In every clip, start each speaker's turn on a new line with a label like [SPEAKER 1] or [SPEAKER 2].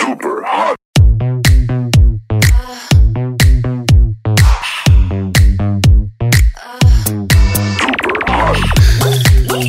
[SPEAKER 1] super hot. Super hot.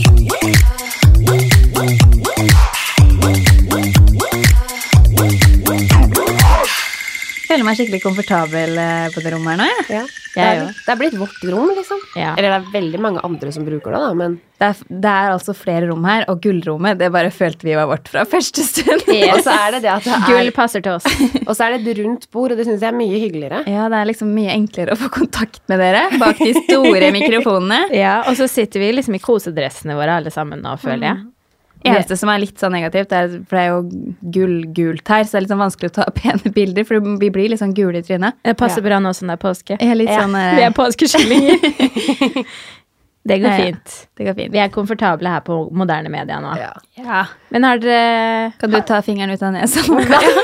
[SPEAKER 2] Føler meg skikkelig komfortabel eh, på det rommet her nå, jeg.
[SPEAKER 3] Ja. Det,
[SPEAKER 2] Jeg
[SPEAKER 3] er,
[SPEAKER 2] òg.
[SPEAKER 3] det er blitt vårt rom, liksom.
[SPEAKER 2] Ja.
[SPEAKER 3] Eller det er veldig mange andre som bruker det, da, men
[SPEAKER 2] Det, er, det er altså flere rom her, og gullrommet det bare følte vi var vårt fra første stund.
[SPEAKER 4] Yes.
[SPEAKER 3] Og så er det det at det er,
[SPEAKER 4] Gull passer til oss.
[SPEAKER 3] og så er det et rundt bord, og det syns jeg er mye hyggeligere.
[SPEAKER 2] Ja, det er liksom mye enklere å få kontakt med dere bak de store mikrofonene.
[SPEAKER 4] Ja, Og så sitter vi liksom i kosedressene våre alle sammen nå, føler jeg.
[SPEAKER 2] Eneste som er litt sånn negativt, er, for det er jo gullgult her, så det er litt sånn vanskelig å ta pene bilder, for vi blir litt sånn gule i trynet.
[SPEAKER 4] Det passer bra nå som det er påske.
[SPEAKER 2] Jeg er litt
[SPEAKER 3] Ja.
[SPEAKER 2] sånn eh,
[SPEAKER 4] Vi er påskekyllinger.
[SPEAKER 2] Ja,
[SPEAKER 4] det går
[SPEAKER 2] ja.
[SPEAKER 4] fint.
[SPEAKER 2] Det går fint.
[SPEAKER 4] Vi er komfortable her på moderne media nå.
[SPEAKER 3] Ja.
[SPEAKER 4] Men har dere
[SPEAKER 2] Kan du ta fingeren ut av nesa?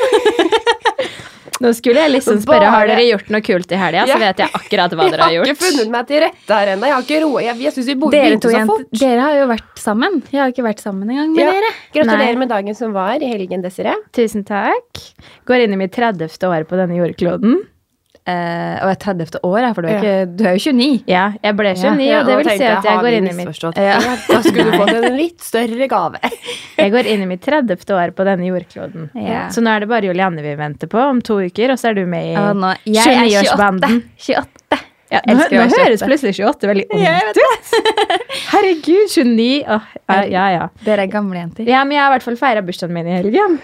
[SPEAKER 4] Nå skulle jeg liksom spørre,
[SPEAKER 3] Bare-
[SPEAKER 4] har dere gjort noe kult i helga? Så
[SPEAKER 3] Ja.
[SPEAKER 4] vet jeg akkurat hva
[SPEAKER 3] Jeg
[SPEAKER 4] dere har
[SPEAKER 3] har ikke
[SPEAKER 4] gjort.
[SPEAKER 3] funnet meg til rette her ennå. Jeg har ikke roa Jeg, jeg syns vi bo-
[SPEAKER 2] Dere
[SPEAKER 3] begynte
[SPEAKER 2] to
[SPEAKER 3] så
[SPEAKER 2] jenter,
[SPEAKER 3] fort.
[SPEAKER 2] dere har jo vært sammen. Jeg har ikke vært sammen engang med
[SPEAKER 3] Ja.
[SPEAKER 2] dere.
[SPEAKER 3] Gratulerer
[SPEAKER 4] Nei.
[SPEAKER 3] med dagen som var i helgen, Desiree.
[SPEAKER 4] Tusen takk. Går inn i mitt 30. år på denne jordkloden.
[SPEAKER 2] Eh, og jeg er 30. år, ja, for du er,
[SPEAKER 3] Ja.
[SPEAKER 2] ikke, du er jo 29.
[SPEAKER 4] Ja, jeg ble 29,
[SPEAKER 3] Ja,
[SPEAKER 4] og det
[SPEAKER 3] nå
[SPEAKER 4] vil si
[SPEAKER 3] tenkte
[SPEAKER 4] at jeg
[SPEAKER 3] har
[SPEAKER 4] går
[SPEAKER 3] vi
[SPEAKER 4] inn i mitt
[SPEAKER 3] misforstått? Ja. Da skulle du fått en litt større gave.
[SPEAKER 4] Jeg går inn i mitt 30. år på denne jordkloden.
[SPEAKER 2] Ja.
[SPEAKER 4] Så nå er det bare Julianne vi venter på om to uker, og så er du med i
[SPEAKER 2] Ja, nå, jeg er 28. 28. Jeg
[SPEAKER 4] Ja, nå
[SPEAKER 2] elsker å
[SPEAKER 4] nå
[SPEAKER 2] være
[SPEAKER 4] høres
[SPEAKER 2] 28.
[SPEAKER 4] plutselig 28 veldig ungt ut. Herregud, 29. Åh, ja, ja, ja.
[SPEAKER 2] Dere er gamle jenter.
[SPEAKER 4] ja, men jeg har i hvert fall feira bursdagen min i helgen.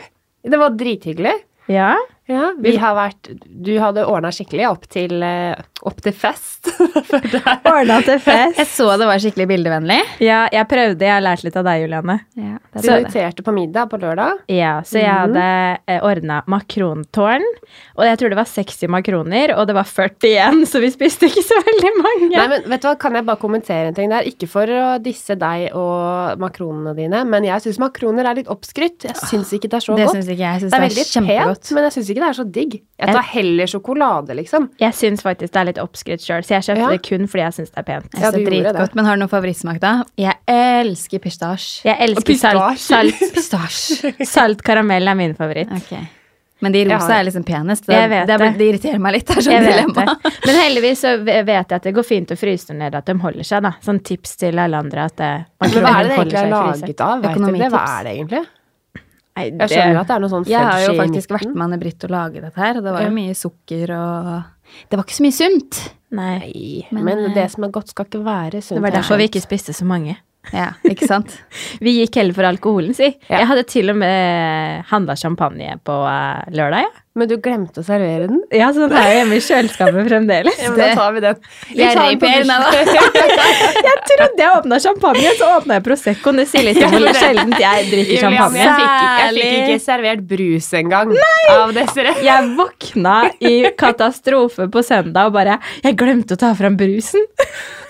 [SPEAKER 3] Det var drithyggelig.
[SPEAKER 4] Ja.
[SPEAKER 3] Ja, vi har vært Du hadde ordna skikkelig opp til, eh, opp til fest. For det er-
[SPEAKER 4] Ordna til
[SPEAKER 2] Jeg
[SPEAKER 4] fest.
[SPEAKER 2] så det var skikkelig bildevennlig.
[SPEAKER 4] Ja, jeg prøvde. Jeg har lært litt av deg, Julianne.
[SPEAKER 2] Ja, det
[SPEAKER 3] du
[SPEAKER 4] Altså-
[SPEAKER 2] er bra det.
[SPEAKER 3] inviterte på middag på lørdag.
[SPEAKER 4] Ja, så jeg hadde ordna makrontårn. Og jeg tror det var 60 makroner, og det var 41, så vi spiste ikke så veldig mange.
[SPEAKER 3] Nei, men vet du hva, Kan jeg bare kommentere en ting der? Ikke for å disse deg og makronene dine, men jeg syns makroner er litt oppskrytt. Jeg syns ikke det er så
[SPEAKER 2] Det
[SPEAKER 3] godt.
[SPEAKER 2] syns ikke jeg. Jeg syns
[SPEAKER 3] det
[SPEAKER 2] det
[SPEAKER 3] er veldig
[SPEAKER 2] er kjempegodt.
[SPEAKER 3] pent, men jeg syns ikke det er så digg. Jeg tar heller sjokolade, liksom.
[SPEAKER 4] Jeg syns faktisk det er litt oppskrytt sjøl, så jeg kjøpte
[SPEAKER 3] Ja.
[SPEAKER 4] det kun fordi jeg syns det er pent.
[SPEAKER 2] Jeg
[SPEAKER 3] Ja,
[SPEAKER 2] synes det
[SPEAKER 3] du
[SPEAKER 2] er
[SPEAKER 3] gjorde det.
[SPEAKER 2] dritgodt. Men har du noen favorittsmak, da? Jeg elsker pistasje.
[SPEAKER 4] Jeg elsker
[SPEAKER 3] pistasje.
[SPEAKER 4] salt. Salt,
[SPEAKER 2] Pistasje.
[SPEAKER 4] salt karamell er min favoritt.
[SPEAKER 2] Ok. Men de
[SPEAKER 3] Jeg
[SPEAKER 2] rosa
[SPEAKER 3] har-
[SPEAKER 2] er liksom penest. Det,
[SPEAKER 4] Jeg vet
[SPEAKER 2] det, er
[SPEAKER 4] det.
[SPEAKER 2] blitt- det irriterer meg litt. Det er
[SPEAKER 4] Jeg
[SPEAKER 2] sånn
[SPEAKER 4] vet
[SPEAKER 2] dilemma.
[SPEAKER 4] det. Men heldigvis så vet jeg at det går fint å fryse ned, at de holder seg. da. Sånn tips til alle andre at eh, det,
[SPEAKER 3] Men hva er det det egentlig er
[SPEAKER 4] holder seg i fryseren.
[SPEAKER 3] laget av? Vet dere det? Hva
[SPEAKER 2] Økonomitips.
[SPEAKER 3] er det egentlig?
[SPEAKER 4] Nei,
[SPEAKER 3] Jeg
[SPEAKER 4] det-
[SPEAKER 3] skjønner at det er noe sånn
[SPEAKER 2] Jeg har jo
[SPEAKER 3] fudgy i
[SPEAKER 2] faktisk vært
[SPEAKER 3] midten.
[SPEAKER 2] med Anne Britt og laget dette her, og det var
[SPEAKER 3] Ja.
[SPEAKER 2] jo mye sukker og Det var ikke så mye sunt.
[SPEAKER 4] Nei,
[SPEAKER 3] Nei, men det som er godt, skal ikke være sunt.
[SPEAKER 4] det var derfor vi ikke spiste så mange.
[SPEAKER 2] Ja, ikke sant?
[SPEAKER 4] Vi gikk heller for alkoholen, si.
[SPEAKER 3] Ja.
[SPEAKER 4] Jeg hadde til og med handla champagne på eh, lørdag, jeg.
[SPEAKER 3] Men du glemte å servere den.
[SPEAKER 4] Ja, så den er jo hjemme i kjøleskapet fremdeles.
[SPEAKER 3] men da tar vi den. Vi
[SPEAKER 2] Jeg
[SPEAKER 3] tar den på
[SPEAKER 2] reper, nei da.
[SPEAKER 4] Jeg trodde jeg åpna champagne, så åpna jeg Proseccoen. Det sier litt om hvor sjeldent jeg drikker
[SPEAKER 3] Julian, jeg
[SPEAKER 4] champagne.
[SPEAKER 3] fikk, jeg fikk
[SPEAKER 2] Særlig.
[SPEAKER 3] ikke servert brus engang av dessere.
[SPEAKER 4] Jeg våkna i katastrofe på søndag og bare Jeg glemte å ta fram brusen.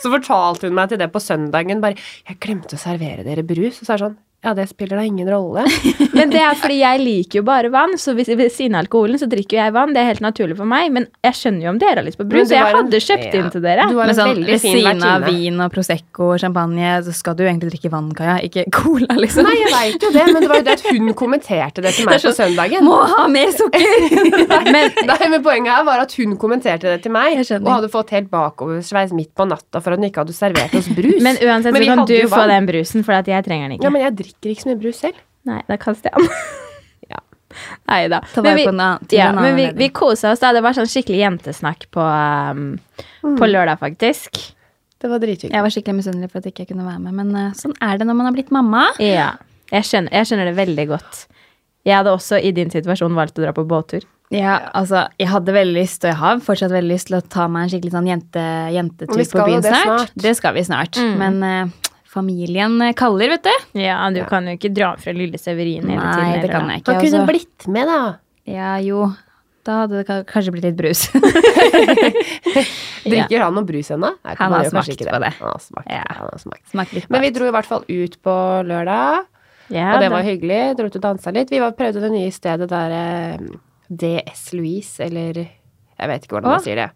[SPEAKER 3] Så fortalte hun meg til det på søndagen. Bare 'Jeg glemte å servere dere brus.' Og så er det sånn Ja, det spiller da ingen rolle.
[SPEAKER 4] Men det er fordi jeg liker jo bare vann, så hvis, ved siden av alkoholen så drikker jeg vann. Det er helt naturlig for meg, men jeg skjønner jo om dere har lyst på
[SPEAKER 3] Men du
[SPEAKER 4] brus. Så jeg
[SPEAKER 3] var en-
[SPEAKER 4] hadde kjøpt
[SPEAKER 3] ja.
[SPEAKER 4] inn til dere.
[SPEAKER 3] Du var
[SPEAKER 2] Men
[SPEAKER 3] en
[SPEAKER 2] sånn,
[SPEAKER 3] veldig
[SPEAKER 2] ved
[SPEAKER 3] fin
[SPEAKER 2] siden av
[SPEAKER 3] vertinne.
[SPEAKER 2] vin og Prosecco og champagne, så skal du jo egentlig drikke vann, Kaja, ikke cola, liksom.
[SPEAKER 3] Nei, jeg veit jo det, men det var jo det at hun kommenterte det til meg på søndagen.
[SPEAKER 2] Må ha mer sukker!
[SPEAKER 3] Men, nei, men poenget her var at hun kommenterte det til meg,
[SPEAKER 2] Jeg skjønner.
[SPEAKER 3] og hadde fått helt bakoversveis midt på natta for at hun ikke hadde servert oss brus.
[SPEAKER 4] Men uansett
[SPEAKER 3] Men vi
[SPEAKER 4] så kan
[SPEAKER 3] hadde
[SPEAKER 4] du
[SPEAKER 3] jo
[SPEAKER 4] få
[SPEAKER 3] vann.
[SPEAKER 4] den brusen, for at jeg trenger den ikke.
[SPEAKER 3] Ja, men jeg drikker ikke så mye brus selv.
[SPEAKER 4] Nei, da kaster jeg den.
[SPEAKER 3] Ja.
[SPEAKER 4] Nei da.
[SPEAKER 2] Ta vare på en annen- til
[SPEAKER 4] ja,
[SPEAKER 2] en
[SPEAKER 4] men
[SPEAKER 2] annen
[SPEAKER 4] vi,
[SPEAKER 2] anledning.
[SPEAKER 4] vi kosa oss. da. Det var sånn skikkelig jentesnakk på, um, på lørdag, faktisk.
[SPEAKER 3] Det var drithyggelig.
[SPEAKER 2] Jeg var skikkelig misunnelig for at ikke jeg kunne være med, men eh, sånn er det når man har blitt mamma.
[SPEAKER 4] Ja. Jeg skjønner, jeg skjønner det veldig godt. Jeg hadde også i din situasjon valgt å dra på båttur.
[SPEAKER 2] Ja, altså, jeg hadde veldig lyst, og jeg har fortsatt veldig lyst til å ta meg en skikkelig sånn jente,
[SPEAKER 3] Og
[SPEAKER 2] jentetur
[SPEAKER 3] vi
[SPEAKER 2] på
[SPEAKER 3] skal jo
[SPEAKER 2] byen
[SPEAKER 3] det
[SPEAKER 2] snart.
[SPEAKER 3] snart. Mm.
[SPEAKER 2] Det skal vi snart. Men eh, familien eh, kaller, vet du.
[SPEAKER 4] Ja, Du kan jo ikke dra fra lille Severin hele tiden.
[SPEAKER 2] Nei, det
[SPEAKER 4] eller-
[SPEAKER 2] kan jeg ikke.
[SPEAKER 3] Man kunne
[SPEAKER 2] altså.
[SPEAKER 3] blitt med, da.
[SPEAKER 2] Ja, jo. Da hadde det ka- kanskje blitt litt brus.
[SPEAKER 3] Drikker han noe brus ennå? Nei,
[SPEAKER 2] Han
[SPEAKER 3] man
[SPEAKER 2] har
[SPEAKER 3] gjør kanskje
[SPEAKER 2] smakt
[SPEAKER 3] ikke
[SPEAKER 2] på det.
[SPEAKER 3] Han har smakt, på
[SPEAKER 2] Ja.
[SPEAKER 3] det, han har smakt.
[SPEAKER 2] Smak litt
[SPEAKER 3] Men vi dro i hvert fall ut på lørdag,
[SPEAKER 4] Ja,
[SPEAKER 3] og det
[SPEAKER 4] da.
[SPEAKER 3] var hyggelig. Dro ut og dansa litt. Vi var, prøvde det nye stedet der eh, DS Louise, eller Jeg vet ikke hvordan
[SPEAKER 2] Å.
[SPEAKER 3] man sier det.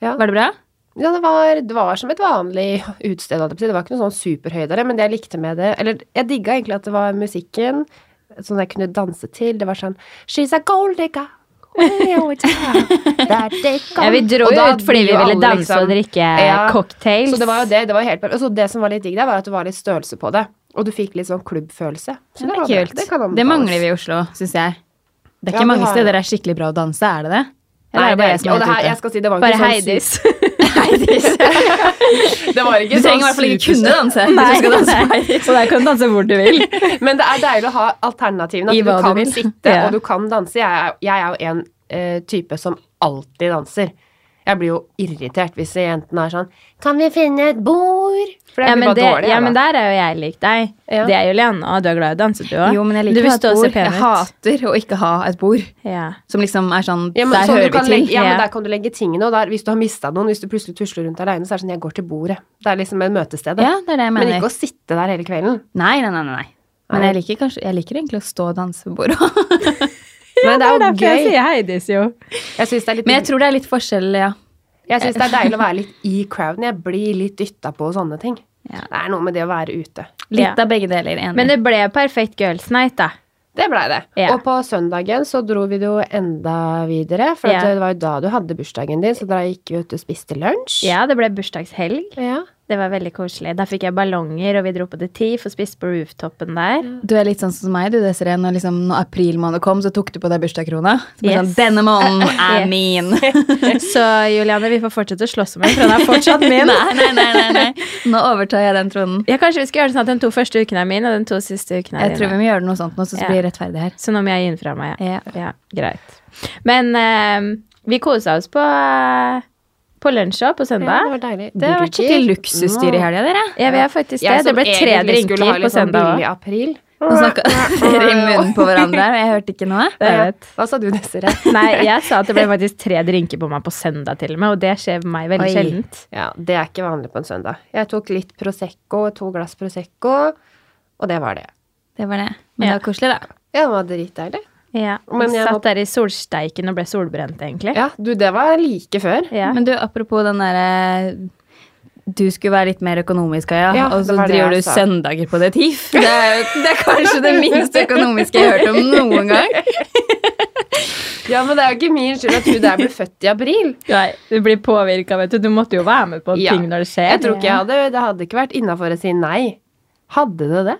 [SPEAKER 3] Ja.
[SPEAKER 2] Var det bra?
[SPEAKER 3] Ja, det var, det var som et vanlig utested. holdt jeg på å si. Det var ikke noe sånn superhøydere, men det jeg likte med det Eller jeg digga egentlig at det var musikken, som jeg kunne danse til. Det var sånn She's a gold digger. Well, it's her. That they
[SPEAKER 4] Ja, vi dro
[SPEAKER 3] Og
[SPEAKER 4] jo
[SPEAKER 3] da
[SPEAKER 4] ut fordi vi
[SPEAKER 3] blir jo
[SPEAKER 4] ville
[SPEAKER 3] alle
[SPEAKER 4] danse
[SPEAKER 3] liksom-
[SPEAKER 4] og drikke
[SPEAKER 3] Ja.
[SPEAKER 4] cocktails.
[SPEAKER 3] Så det var jo det. det var jo helt perfekt. Og så det som var litt digg der, var at det var litt størrelse på det. Og du fikk litt sånn klubbfølelse. Så
[SPEAKER 2] Det er
[SPEAKER 3] var
[SPEAKER 2] kult.
[SPEAKER 3] Det, kan anbefales.
[SPEAKER 2] det mangler vi i Oslo, syns jeg. Det er
[SPEAKER 3] Ja,
[SPEAKER 2] ikke
[SPEAKER 3] vi
[SPEAKER 2] mange
[SPEAKER 3] har-
[SPEAKER 2] steder det er skikkelig bra å danse, er det det? Eller er det
[SPEAKER 3] Nei, det
[SPEAKER 2] bare
[SPEAKER 3] er
[SPEAKER 2] jeg
[SPEAKER 3] ikke.
[SPEAKER 2] som
[SPEAKER 3] Og
[SPEAKER 2] er
[SPEAKER 3] det
[SPEAKER 2] helt
[SPEAKER 3] her, jeg
[SPEAKER 2] ute?
[SPEAKER 3] skal si, det var
[SPEAKER 4] Bare
[SPEAKER 3] ikke sånn
[SPEAKER 4] Heidis.
[SPEAKER 3] super- Det var
[SPEAKER 2] Du
[SPEAKER 3] ikke
[SPEAKER 2] trenger i
[SPEAKER 3] sånn
[SPEAKER 2] hvert fall ikke
[SPEAKER 3] superstort.
[SPEAKER 2] kunne danse. hvis du skal danse på Heidis.
[SPEAKER 4] Så der kan du danse hvor du vil.
[SPEAKER 3] Men det er deilig å ha alternativene.
[SPEAKER 2] I
[SPEAKER 3] At du
[SPEAKER 2] hva du
[SPEAKER 3] kan
[SPEAKER 2] vil.
[SPEAKER 3] sitte,
[SPEAKER 4] Ja.
[SPEAKER 3] og du kan danse. Jeg er, jeg er jo en eh, type som alltid danser. Jeg blir jo irritert hvis jentene er sånn Kan vi finne et bord? For
[SPEAKER 4] Ja
[SPEAKER 3] jeg blir
[SPEAKER 4] men,
[SPEAKER 3] bare
[SPEAKER 4] det,
[SPEAKER 3] dårlig.
[SPEAKER 4] ja,
[SPEAKER 3] jeg,
[SPEAKER 4] men
[SPEAKER 3] da.
[SPEAKER 4] der er jo jeg lik deg.
[SPEAKER 3] Ja.
[SPEAKER 4] Det er jo Lene, og du er glad i å danse, du òg.
[SPEAKER 2] Jo, men jeg
[SPEAKER 4] du
[SPEAKER 2] liker å
[SPEAKER 4] vil
[SPEAKER 2] ha et
[SPEAKER 4] stå og se
[SPEAKER 2] bord.
[SPEAKER 4] pen
[SPEAKER 2] Jeg
[SPEAKER 4] ut.
[SPEAKER 2] hater å ikke ha et bord
[SPEAKER 4] Ja.
[SPEAKER 2] som liksom er sånn
[SPEAKER 3] ja, men,
[SPEAKER 2] Der
[SPEAKER 3] sånn du
[SPEAKER 2] hører vi
[SPEAKER 3] kan
[SPEAKER 2] til.
[SPEAKER 3] legge, ja,
[SPEAKER 4] ja.
[SPEAKER 3] men der kan du legge tingene. Og der, hvis du har mista noen, hvis du plutselig tusler rundt aleine, så er det sånn Jeg går til bordet. Det er liksom et møtested. da.
[SPEAKER 2] Ja, det er det jeg
[SPEAKER 3] men
[SPEAKER 2] mener.
[SPEAKER 3] ikke å sitte der hele kvelden.
[SPEAKER 2] Nei, nei, nei. nei. Men
[SPEAKER 3] Nei.
[SPEAKER 2] jeg liker, kanskje, jeg liker egentlig å stå og danse på bordet òg.
[SPEAKER 3] Men det er jo
[SPEAKER 4] jeg
[SPEAKER 3] gøy.
[SPEAKER 4] sier Heidis, jo.
[SPEAKER 3] Jeg syns det, er litt-
[SPEAKER 2] Men jeg tror det er litt forskjell, ja.
[SPEAKER 3] jeg synes det er deilig å være litt i crowden. Jeg blir litt dytta på og sånne ting.
[SPEAKER 2] Ja.
[SPEAKER 3] Det er noe med det å være ute.
[SPEAKER 2] Litt
[SPEAKER 4] Ja.
[SPEAKER 2] av begge deler. Enig.
[SPEAKER 4] Men det ble perfekt girls night, da.
[SPEAKER 3] Det blei det.
[SPEAKER 4] Ja.
[SPEAKER 3] Og på søndagen så dro vi det jo enda videre, for at
[SPEAKER 4] Ja.
[SPEAKER 3] det var jo da du hadde bursdagen din, så dere gikk jo ut og spiste lunsj.
[SPEAKER 4] Ja, det ble bursdagshelg.
[SPEAKER 3] Ja.
[SPEAKER 4] Det var veldig koselig. Der fikk jeg ballonger, og vi dro på The Teef og spiste på rooftopen der.
[SPEAKER 2] Du er litt sånn som meg, du, Desiree. Når, liksom, når april måned kom, så tok du på deg bursdagskrona. Så ble det
[SPEAKER 4] Yes.
[SPEAKER 2] sånn, Denne måneden er
[SPEAKER 4] Yes.
[SPEAKER 2] min!
[SPEAKER 3] Mm.
[SPEAKER 4] Så Juliane, vi får fortsette å slåss om henne, for hun er fortsatt min.
[SPEAKER 2] nei, nei, nei, nei, nei. Nå overtar jeg den tronen.
[SPEAKER 4] Ja, kanskje vi skal gjøre det sånn at den to første ukene er min, og den to siste ukene er
[SPEAKER 2] Jeg tror vi
[SPEAKER 4] dine.
[SPEAKER 2] må gjøre noe sånt nå, så, så
[SPEAKER 4] Ja.
[SPEAKER 2] blir det rettferdig her.
[SPEAKER 4] Så nå må jeg gi den fra meg.
[SPEAKER 2] Ja.
[SPEAKER 4] ja greit. Men eh, vi kosa oss på, eh, på lunsj også
[SPEAKER 3] Ja,
[SPEAKER 4] på
[SPEAKER 3] det
[SPEAKER 4] søndag.
[SPEAKER 3] var deilig. Mm.
[SPEAKER 2] Det har vært skikkelig luksusdyr i helga,
[SPEAKER 3] helga.
[SPEAKER 2] dere.
[SPEAKER 4] Ja, vi er faktisk det. Det ble tre drinker på søndag
[SPEAKER 3] liksom Billig
[SPEAKER 4] òg.
[SPEAKER 3] april.
[SPEAKER 2] Nå snakka dere i munnen på hverandre, og jeg hørte ikke noe.
[SPEAKER 3] Hva sa du, Desiree?
[SPEAKER 4] Nei, jeg sa at det ble faktisk tre drinker på meg på søndag til og med, og det skjer meg veldig
[SPEAKER 2] Oi.
[SPEAKER 4] sjeldent.
[SPEAKER 3] Ja, det er ikke vanlig på en søndag. Jeg tok litt Prosecco, to glass Prosecco, og det var det.
[SPEAKER 2] Det var det. Men det var
[SPEAKER 4] Ja.
[SPEAKER 2] koselig, da.
[SPEAKER 3] Ja, det var dritdeilig.
[SPEAKER 4] Ja,
[SPEAKER 3] Men jeg må-
[SPEAKER 4] Satt der i solsteiken og ble solbrent, egentlig.
[SPEAKER 3] Ja, du, det var like før.
[SPEAKER 4] Ja.
[SPEAKER 2] Men du, apropos den derre Du skulle være litt mer økonomisk, Kaja,
[SPEAKER 3] Ja,
[SPEAKER 2] og
[SPEAKER 3] det
[SPEAKER 2] så
[SPEAKER 3] var det
[SPEAKER 2] driver
[SPEAKER 3] jeg
[SPEAKER 2] du
[SPEAKER 3] sa.
[SPEAKER 2] søndager på det TIFF. Det er, jo- det er kanskje det minst økonomiske jeg har hørt om noen gang.
[SPEAKER 3] Ja, men det er jo ikke min skyld at hun der ble født i april.
[SPEAKER 4] Nei, du blir påvirka, vet du. Du måtte jo være med på
[SPEAKER 3] Ja.
[SPEAKER 4] ting når det skjer.
[SPEAKER 3] Jeg tror ikke jeg hadde Det hadde ikke vært innafor å si nei. Hadde det det?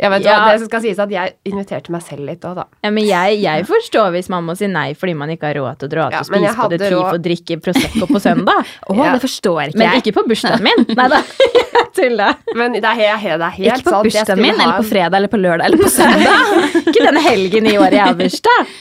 [SPEAKER 3] Jeg vet
[SPEAKER 4] Ja.
[SPEAKER 3] hva, Det skal sies at jeg inviterte meg selv litt òg, da.
[SPEAKER 4] Ja, men jeg, jeg forstår hvis man må si nei fordi man ikke har råd til å dra ut
[SPEAKER 3] Ja,
[SPEAKER 4] og
[SPEAKER 3] men jeg
[SPEAKER 4] spise på
[SPEAKER 3] hadde
[SPEAKER 4] det TIF
[SPEAKER 3] råd.
[SPEAKER 4] og drikke Prosecco på søndag.
[SPEAKER 2] Å,
[SPEAKER 3] Ja.
[SPEAKER 2] det forstår ikke
[SPEAKER 4] Men
[SPEAKER 2] jeg.
[SPEAKER 4] ikke på bursdagen min. Nei da, jeg tulla.
[SPEAKER 3] Men det er, he- he- det er helt
[SPEAKER 2] Ikke på
[SPEAKER 3] sant. Jeg
[SPEAKER 2] bursdagen
[SPEAKER 3] skulle
[SPEAKER 2] min,
[SPEAKER 3] ha
[SPEAKER 2] eller på
[SPEAKER 3] en-
[SPEAKER 2] fredag, eller på lørdag, eller på søndag.
[SPEAKER 4] Ikke denne helgen i året jeg har bursdag.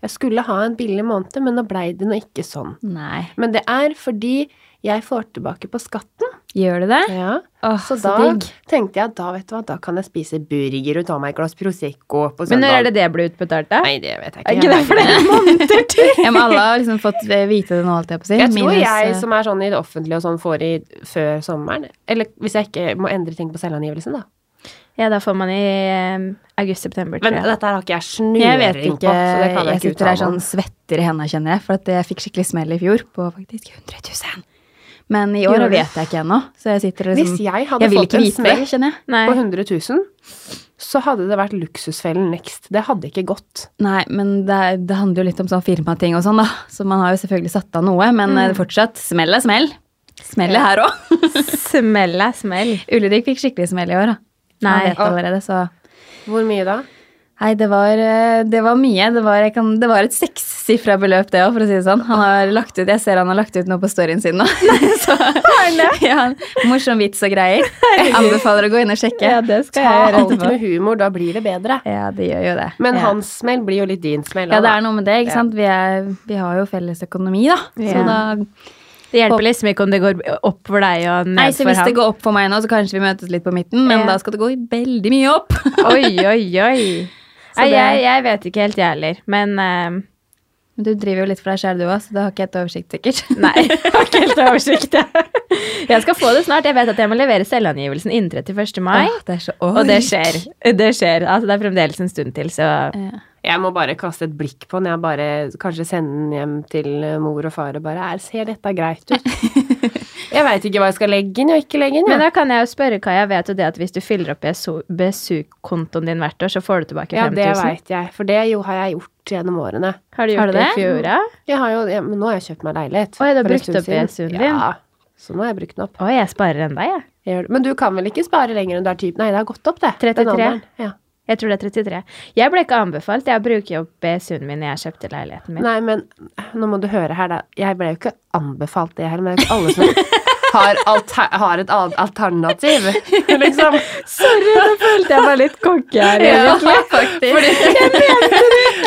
[SPEAKER 3] Jeg skulle ha en billig måned, men nå blei det nå ikke sånn.
[SPEAKER 2] Nei.
[SPEAKER 3] Men det er fordi jeg får tilbake på skatten.
[SPEAKER 2] Gjør du det?
[SPEAKER 3] Ja.
[SPEAKER 2] Åh,
[SPEAKER 3] Så
[SPEAKER 2] så
[SPEAKER 3] da
[SPEAKER 2] digg.
[SPEAKER 3] tenkte jeg da vet du hva, da kan jeg spise burger og ta meg et glass Prosecco på søndag.
[SPEAKER 4] Men når er det det blir utbetalt, da?
[SPEAKER 3] Nei, det vet jeg ikke.
[SPEAKER 4] Er ikke det
[SPEAKER 3] Jeg,
[SPEAKER 4] flere måneder til?
[SPEAKER 2] Ja, men alle har liksom fått vite det nå, holdt jeg på å si.
[SPEAKER 3] jeg tror
[SPEAKER 2] Minus,
[SPEAKER 3] jeg
[SPEAKER 2] eh,
[SPEAKER 3] som er sånn i det offentlige og sånn, får i før sommeren. Eller hvis jeg ikke må endre ting på selvangivelsen, da.
[SPEAKER 4] Ja, da får man i eh, august-september,
[SPEAKER 3] Men
[SPEAKER 4] tror jeg.
[SPEAKER 3] dette her har ikke jeg
[SPEAKER 2] Jeg vet
[SPEAKER 3] snøring
[SPEAKER 2] ikke.
[SPEAKER 3] på, så det kan jeg,
[SPEAKER 2] Jeg
[SPEAKER 3] ikke
[SPEAKER 2] sitter
[SPEAKER 3] uttale
[SPEAKER 2] her
[SPEAKER 3] meg om.
[SPEAKER 2] sånn svetter i hendene, kjenner jeg. For at jeg fikk skikkelig smell i fjor på faktisk 100 000. Men i år
[SPEAKER 4] Gjorde du?
[SPEAKER 2] vet jeg ikke ennå. Så jeg sitter og liksom
[SPEAKER 3] Hvis jeg hadde
[SPEAKER 2] vil
[SPEAKER 3] fått
[SPEAKER 2] ikke
[SPEAKER 3] en
[SPEAKER 2] vite
[SPEAKER 3] smell
[SPEAKER 2] det, kjenner jeg.
[SPEAKER 4] Nei.
[SPEAKER 3] på 100 000, så hadde det vært luksusfellen next. Det hadde ikke gått.
[SPEAKER 2] Nei, men det, er- det handler jo litt om sånn firmating og sånn, da. Så man har jo selvfølgelig satt av noe, men eh, fortsatt smell er smell. Smell er her òg.
[SPEAKER 4] Smell er smell.
[SPEAKER 2] Ulrik fikk skikkelig smell i år, da. Han
[SPEAKER 4] Nei. Ah.
[SPEAKER 2] vet allerede, så
[SPEAKER 3] Hvor mye da?
[SPEAKER 2] Nei, det var, eh, det var mye. Det var, jeg kan, det var et sekssifra beløp, det òg, for å si det sånn. Han har lagt ut, jeg ser han har lagt ut noe på storyen sin nå. Så, ja, morsom vits og greier. Anbefaler å gå inn og sjekke.
[SPEAKER 4] Ja, det skal
[SPEAKER 3] Ta
[SPEAKER 4] jeg gjøre
[SPEAKER 3] alt
[SPEAKER 4] etterpå.
[SPEAKER 3] med humor, da blir det bedre.
[SPEAKER 2] Ja, det gjør jo det.
[SPEAKER 3] Men
[SPEAKER 2] ja.
[SPEAKER 3] hans smell blir jo litt din smell.
[SPEAKER 2] Ja, det
[SPEAKER 3] da.
[SPEAKER 2] er noe med det. ikke sant? Vi, er, vi har jo felles økonomi, da.
[SPEAKER 4] Ja.
[SPEAKER 2] Så da
[SPEAKER 4] Det hjelper liksom ikke om det går opp for deg og
[SPEAKER 2] Nei,
[SPEAKER 4] ned
[SPEAKER 2] så
[SPEAKER 4] for
[SPEAKER 2] hvis det
[SPEAKER 4] ham.
[SPEAKER 2] går opp for meg nå, så kanskje vi møtes litt på midten, men
[SPEAKER 4] Ja.
[SPEAKER 2] da skal det gå veldig mye opp.
[SPEAKER 4] Oi, oi, oi. Nei,
[SPEAKER 2] det-
[SPEAKER 4] jeg, jeg vet ikke helt, jeg heller. Men eh,
[SPEAKER 2] Men du driver jo litt for deg sjæl, du òg, så da har ikke jeg et oversikt, sikkert.
[SPEAKER 4] Nei, jeg har ikke helt oversikt. jeg. Jeg skal få det snart. Jeg vet at jeg må levere selvangivelsen innen 31. mai.
[SPEAKER 2] Åh, det er så
[SPEAKER 4] Og det skjer. Det skjer. Altså, det er fremdeles en stund til, så
[SPEAKER 2] Ja.
[SPEAKER 3] Jeg må bare kaste et blikk på den. Jeg bare kanskje sende den hjem til eh, mor og far og bare er, Ser dette greit ut? Jeg veit ikke hva jeg skal legge inn og ikke legge inn.
[SPEAKER 4] Men
[SPEAKER 3] Ja.
[SPEAKER 4] da kan jeg jo spørre, Kaja, vet du det at hvis du fyller opp BSU-kontoen din hvert år, så får du tilbake
[SPEAKER 3] Ja, det
[SPEAKER 4] 5000?
[SPEAKER 3] veit jeg, for det jo har jeg gjort gjennom årene.
[SPEAKER 4] Har
[SPEAKER 2] Har
[SPEAKER 4] du gjort
[SPEAKER 2] du
[SPEAKER 4] det i
[SPEAKER 2] det?
[SPEAKER 4] fjor, ja?
[SPEAKER 3] Jeg har jo, ja, men nå har jeg kjøpt meg leilighet.
[SPEAKER 4] Oi, du har
[SPEAKER 3] for en
[SPEAKER 4] brukt
[SPEAKER 3] stund
[SPEAKER 4] opp
[SPEAKER 3] siden.
[SPEAKER 4] BSU-en din?
[SPEAKER 3] Ja, så nå har jeg brukt den opp.
[SPEAKER 4] Å, jeg sparer enda, jeg.
[SPEAKER 3] Jeg gjør det. Men du kan vel ikke spare lenger enn du er typ Nei, det har gått opp, det. den
[SPEAKER 4] 33.
[SPEAKER 3] alderen. Ja.
[SPEAKER 4] Jeg tror det er 33. Jeg ble ikke anbefalt. Jeg bruker jo BSU-en min når jeg kjøpte leiligheten min.
[SPEAKER 3] Nei, men nå må du høre her, da. Jeg ble jo ikke anbefalt det her, men det er jo ikke alle som har, alter, har et al- alternativ, liksom.
[SPEAKER 4] Sorry, da følte jeg meg litt cocky her.
[SPEAKER 2] faktisk.
[SPEAKER 3] Fordi,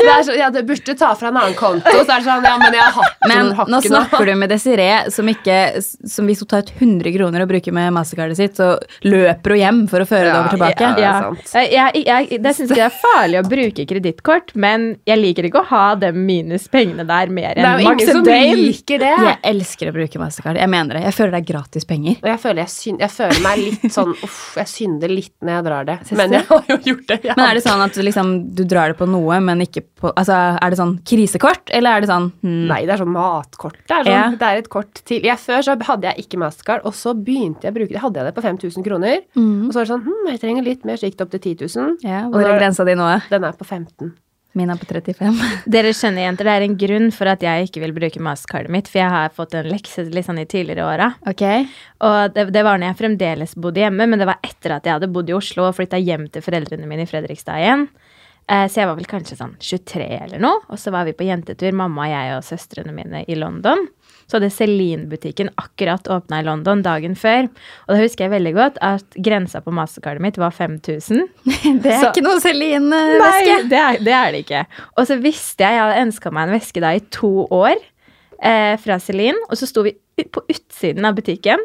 [SPEAKER 3] det er så, ja, det burde ta fra en annen konto, så er det sånn Ja, men jeg har hatt
[SPEAKER 2] Men
[SPEAKER 3] den hakken
[SPEAKER 2] nå snakker du med Desiree, som, ikke, som hvis hun tar ut 100 kroner og bruker med mastercardet sitt, så løper hun hjem for å føre det
[SPEAKER 3] Ja,
[SPEAKER 2] over tilbake.
[SPEAKER 3] ja.
[SPEAKER 4] Ja.
[SPEAKER 3] sant.
[SPEAKER 4] Jeg, jeg, jeg, det syns jeg er farlig å bruke kredittkort, men jeg liker ikke å ha de minus pengene der mer
[SPEAKER 3] Det er
[SPEAKER 4] enn
[SPEAKER 3] jo
[SPEAKER 4] maks
[SPEAKER 3] ingen
[SPEAKER 4] en
[SPEAKER 3] som
[SPEAKER 4] dame.
[SPEAKER 3] liker det.
[SPEAKER 2] Jeg elsker å bruke mastercard. Jeg mener det. Jeg føler det er gratis penger.
[SPEAKER 3] Og jeg føler, jeg, syn, jeg føler meg litt sånn Uff, jeg synder litt når jeg drar det.
[SPEAKER 2] Syns
[SPEAKER 3] Men
[SPEAKER 2] du?
[SPEAKER 3] jeg har jo gjort det. Jeg
[SPEAKER 2] Men er det sånn at du liksom, du drar det på noe, men ikke på Altså, er det sånn krisekort, eller er det sånn hmm,
[SPEAKER 3] Nei, det er sånn matkort. Det er, sånn,
[SPEAKER 2] Ja.
[SPEAKER 3] det er et kort til. Jeg, før så hadde jeg ikke Mastercard, og så begynte jeg å bruke det. Hadde jeg det på 5000 kroner, og
[SPEAKER 2] Mm.
[SPEAKER 3] så var det sånn hm, jeg trenger litt mer, så gikk det opp til 10 000.
[SPEAKER 2] ja,
[SPEAKER 3] og
[SPEAKER 2] Hvor er
[SPEAKER 3] nå-
[SPEAKER 2] grensa di nå?
[SPEAKER 3] Den er på 15.
[SPEAKER 2] Min er på 35.
[SPEAKER 4] Dere skjønner, jenter, det er en grunn for at jeg ikke vil bruke mastercardet mitt, for jeg har fått en lekse litt sånn i tidligere åra.
[SPEAKER 2] Ok.
[SPEAKER 4] Og det, det var når jeg fremdeles bodde hjemme, men det var etter at jeg hadde bodd i Oslo og flytta hjem til foreldrene mine i Fredrikstad igjen. Eh, Så jeg var vel kanskje sånn 23 eller noe. Og så var vi på jentetur, mamma, jeg og søstrene mine, i London. Så hadde Celine-butikken akkurat åpna i London dagen før. Og da husker jeg veldig godt at grensa på mastercardet mitt var 5000.
[SPEAKER 2] Det er
[SPEAKER 4] Så-
[SPEAKER 2] ikke noe
[SPEAKER 4] Nei,
[SPEAKER 2] Celine-veske.
[SPEAKER 4] det er, det er det ikke. Og så visste jeg, jeg hadde ønska meg en veske da i to år eh, fra Celine, og så sto vi u- på utsiden av butikken,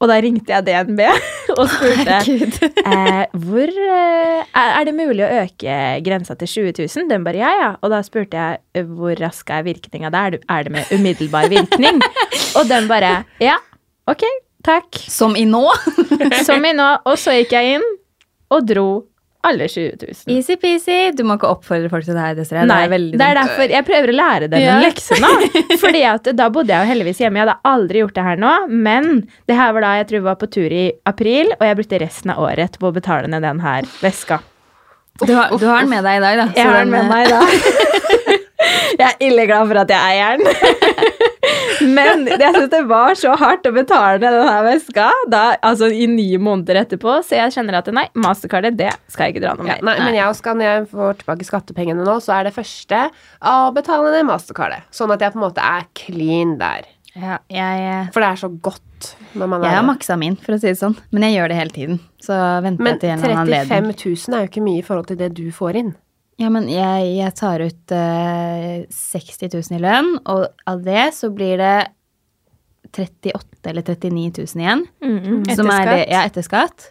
[SPEAKER 4] og da ringte jeg DNB og spurte eh, hvor eh, er er det mulig å øke grensa til 20 000? Den bare ja, ja. Og da spurte jeg eh, hvor rask er virkninga der? Er det- Er det med umiddelbar virkning? og den bare ja, ok, takk.
[SPEAKER 2] Som i nå.
[SPEAKER 4] Som i nå. Og så gikk jeg inn og dro alle 20 000.
[SPEAKER 2] Easy-peasy. Du må ikke oppfordre folk til det her, Desiree.
[SPEAKER 4] Nei,
[SPEAKER 2] det er veldig dumt.
[SPEAKER 4] derfor jeg prøver å lære dem
[SPEAKER 2] Ja.
[SPEAKER 4] en lekse nå. Fordi at da bodde jeg jo heldigvis hjemme. Jeg hadde aldri gjort det her nå, men det her var da jeg tror vi var på tur i april, og jeg brukte resten av året på å betale ned den her veska.
[SPEAKER 2] Du har, du har den eh, med deg i dag, da. så
[SPEAKER 4] Jeg har den med meg da. Jeg er ille glad for at jeg eier den. Men jeg syns det var så hardt å betale ned denne veska da, altså i ni måneder etterpå, så jeg kjenner at nei, mastercardet, det skal jeg ikke dra noe
[SPEAKER 3] Ja,
[SPEAKER 4] mer.
[SPEAKER 3] nei, men jeg også skal, når jeg får tilbake skattepengene nå, så er det første å betale ned Mastercardet. Sånn at jeg på en måte er clean der.
[SPEAKER 2] Ja, jeg, eh,
[SPEAKER 3] For det er så godt når man
[SPEAKER 2] jeg
[SPEAKER 3] er
[SPEAKER 2] har maksa min, for å si det sånn. Men jeg gjør det hele tiden. Så venter
[SPEAKER 3] Men
[SPEAKER 2] jeg til en eller annen
[SPEAKER 3] 35
[SPEAKER 2] anledning.
[SPEAKER 3] 000 er jo ikke mye i forhold til det du får inn.
[SPEAKER 2] Ja, men jeg, jeg tar ut eh, 60 000 i lønn, og av det så blir det 38 000 eller 39 000 igjen.
[SPEAKER 4] Mm,
[SPEAKER 2] som er
[SPEAKER 4] etter
[SPEAKER 2] det,
[SPEAKER 4] skatt.
[SPEAKER 2] ja, etter skatt.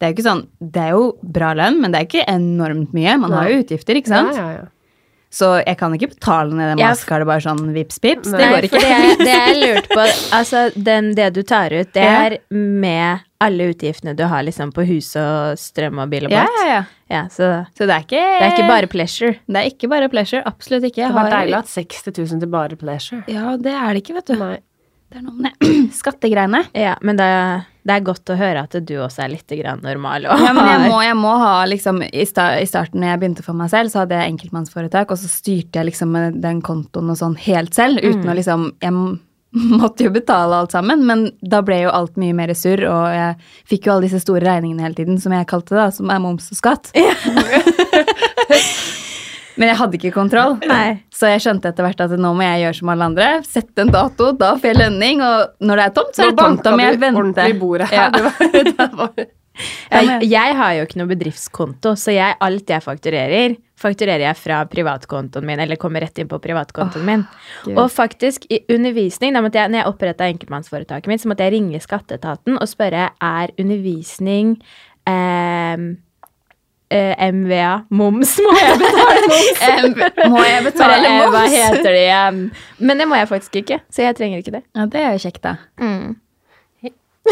[SPEAKER 2] Det er jo ikke sånn, det er jo bra lønn, men det er ikke enormt mye. Man har jo utgifter, ikke sant?
[SPEAKER 3] Ja, ja, ja.
[SPEAKER 2] Så jeg kan ikke betale ned det
[SPEAKER 4] Ja,
[SPEAKER 2] maskardet bare sånn vips-pips. Det
[SPEAKER 3] Nei,
[SPEAKER 2] går
[SPEAKER 4] for
[SPEAKER 2] ikke.
[SPEAKER 4] det jeg, det jeg lurte på Altså, den, det du tar ut, det
[SPEAKER 2] Ja.
[SPEAKER 4] er med alle utgiftene du har liksom på hus og strøm og bil og
[SPEAKER 2] Ja,
[SPEAKER 4] båt.
[SPEAKER 2] ja, Eh. ja.
[SPEAKER 4] Ja, så
[SPEAKER 2] Så det er ikke,
[SPEAKER 4] det er ikke bare pleasure.
[SPEAKER 2] det er ikke bare pleasure. Absolutt ikke. Jeg
[SPEAKER 3] Det var
[SPEAKER 2] har-
[SPEAKER 3] deilig at 60 000 til bare pleasure.
[SPEAKER 2] Ja, det er det ikke, vet du.
[SPEAKER 3] Nei.
[SPEAKER 2] Det er noe med det. skattegreiene.
[SPEAKER 4] Ja, men det, det er godt å høre at du også er litt grann normal. Og
[SPEAKER 2] Ja, men jeg må, jeg må ha liksom, i, sta I starten når jeg begynte for meg selv, så hadde jeg enkeltmannsforetak, og så styrte jeg liksom med den kontoen og sånn helt selv,
[SPEAKER 3] Mm.
[SPEAKER 2] uten å liksom Jeg m- måtte jo betale alt sammen, men da ble jo alt mye mer surr, og jeg fikk jo alle disse store regningene hele tiden, som jeg kalte det, da, som er moms og skatt. men jeg hadde ikke kontroll.
[SPEAKER 4] Nei.
[SPEAKER 2] Så jeg skjønte etter hvert at nå må jeg gjøre som alle andre. Sette en dato, da får jeg lønning. Og når det er tomt, så er
[SPEAKER 3] Nå
[SPEAKER 2] det tomt. Da
[SPEAKER 3] banka
[SPEAKER 2] må jeg
[SPEAKER 3] du
[SPEAKER 2] vente.
[SPEAKER 3] ordentlig i bordet her.
[SPEAKER 2] Ja.
[SPEAKER 3] Det var- det var-
[SPEAKER 4] Jeg, jeg har jo ikke noe bedriftskonto, så jeg, alt jeg fakturerer, fakturerer jeg fra privatkontoen min, eller kommer rett inn på privatkontoen min.
[SPEAKER 2] Gud.
[SPEAKER 4] Og faktisk, i undervisning, da måtte jeg, når jeg oppretta enkeltmannsforetaket mitt, så måtte jeg ringe skatteetaten og spørre er undervisning eh, eh, MVA moms, må jeg betale moms?
[SPEAKER 2] Em, Eh, Må jeg
[SPEAKER 4] Bare,
[SPEAKER 2] betale
[SPEAKER 4] eh, Hva
[SPEAKER 2] moms?
[SPEAKER 4] heter det igjen? Men det må jeg faktisk ikke, så jeg trenger ikke det.
[SPEAKER 2] Ja, det er jo kjekt, da.
[SPEAKER 3] Mm.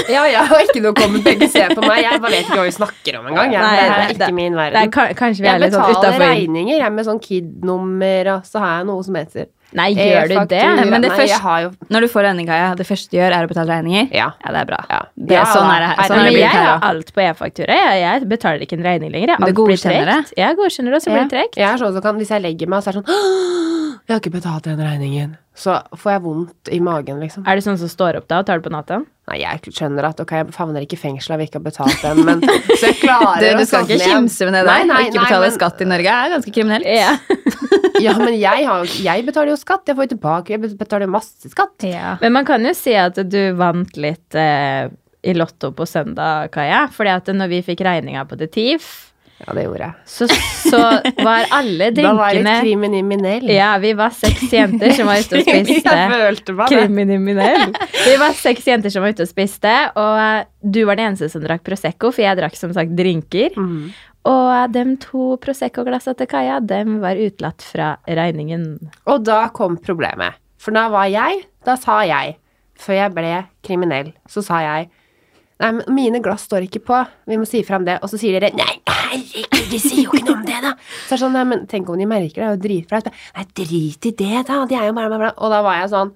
[SPEAKER 3] Ja, jeg har ikke noe å komme begge se på meg. Jeg bare vet ikke hva vi snakker om engang. Jeg-
[SPEAKER 4] Nei,
[SPEAKER 3] Det her er
[SPEAKER 4] det-
[SPEAKER 3] ikke
[SPEAKER 4] det-
[SPEAKER 3] min
[SPEAKER 4] det er,
[SPEAKER 3] verden.
[SPEAKER 4] ka- kanskje vi er
[SPEAKER 3] Jeg
[SPEAKER 4] litt sånn
[SPEAKER 3] betaler
[SPEAKER 4] utafor.
[SPEAKER 3] regninger jeg med sånn KID-nummer, og så har jeg noe som heter
[SPEAKER 4] Nei,
[SPEAKER 3] Eh,
[SPEAKER 4] gjør du det?
[SPEAKER 3] faktura.
[SPEAKER 2] Nei, men det
[SPEAKER 3] Nei,
[SPEAKER 2] først-
[SPEAKER 3] jeg har jo
[SPEAKER 2] Når du får regning, Kaja, det første du gjør, er å betale regninger?
[SPEAKER 3] Ja.
[SPEAKER 2] det er bra.
[SPEAKER 3] Ja.
[SPEAKER 2] Det,
[SPEAKER 3] Ja,
[SPEAKER 2] sånn
[SPEAKER 3] da.
[SPEAKER 2] er det, her-
[SPEAKER 3] Er
[SPEAKER 2] sånn er
[SPEAKER 4] men
[SPEAKER 2] det
[SPEAKER 4] jeg
[SPEAKER 2] blitt her
[SPEAKER 4] har
[SPEAKER 2] også.
[SPEAKER 4] alt på e-faktura. Jeg, jeg betaler ikke en regning lenger. Jeg,
[SPEAKER 2] Men du
[SPEAKER 4] alt blir
[SPEAKER 2] godkjenner det?
[SPEAKER 4] trekt. Jeg godkjenner det, og så blir
[SPEAKER 2] Ja.
[SPEAKER 4] det trekt.
[SPEAKER 3] Jeg er sånn som kan, hvis jeg legger meg, så er det sånn «Åh, Jeg har ikke betalt den regningen. Så får jeg vondt i magen, liksom.
[SPEAKER 4] Er du sånn som står opp da og tar det på natten?
[SPEAKER 3] Nei, jeg skjønner at ok, jeg favner ikke i fengsel av ikke å ha betalt den, men Så jeg klarer
[SPEAKER 2] Du,
[SPEAKER 3] å
[SPEAKER 2] du skal
[SPEAKER 3] sovne
[SPEAKER 2] ikke
[SPEAKER 3] igjen.
[SPEAKER 2] kimse med det
[SPEAKER 3] Nei,
[SPEAKER 2] der.
[SPEAKER 3] nei,
[SPEAKER 2] Å ikke
[SPEAKER 3] nei,
[SPEAKER 2] betale
[SPEAKER 3] men-
[SPEAKER 2] skatt i Norge er ganske kriminelt.
[SPEAKER 4] Ja.
[SPEAKER 3] Ja, men jeg, har, jo- jeg betaler jo skatt. Jeg får jo tilbake Jeg betaler jo masse skatt.
[SPEAKER 2] Ja.
[SPEAKER 4] Men man kan jo si at du vant litt eh, i Lotto på søndag, Kaja. Fordi at når vi fikk regninga på The Thief,
[SPEAKER 3] Ja, det gjorde jeg.
[SPEAKER 4] så, så var alle
[SPEAKER 3] Da var jeg litt
[SPEAKER 4] drinkene
[SPEAKER 3] kriminell.
[SPEAKER 4] Ja, vi var seks jenter som var ute og spiste.
[SPEAKER 3] følte meg det.
[SPEAKER 4] Kriminell. Vi var seks jenter som var ute og spiste, og eh, du var den eneste som drakk Prosecco, for jeg drakk som sagt drinker.
[SPEAKER 3] Mhm.
[SPEAKER 4] Og eh, de to Prosecco-glassene til Kaja, dem var utelatt fra regningen.
[SPEAKER 3] Og da kom problemet. For da var jeg Da sa jeg, før jeg ble kriminell, så sa jeg Nei, men mine glass står ikke på. Vi må si fram det. Og så sier dere Nei, herregud, de sier jo ikke noe om det, da. Så er det sånn, nei, men tenk om de merker det. Det er jo dritflaut. Nei, drit i det, da. De er jo bare bla, bla. Og da var jeg sånn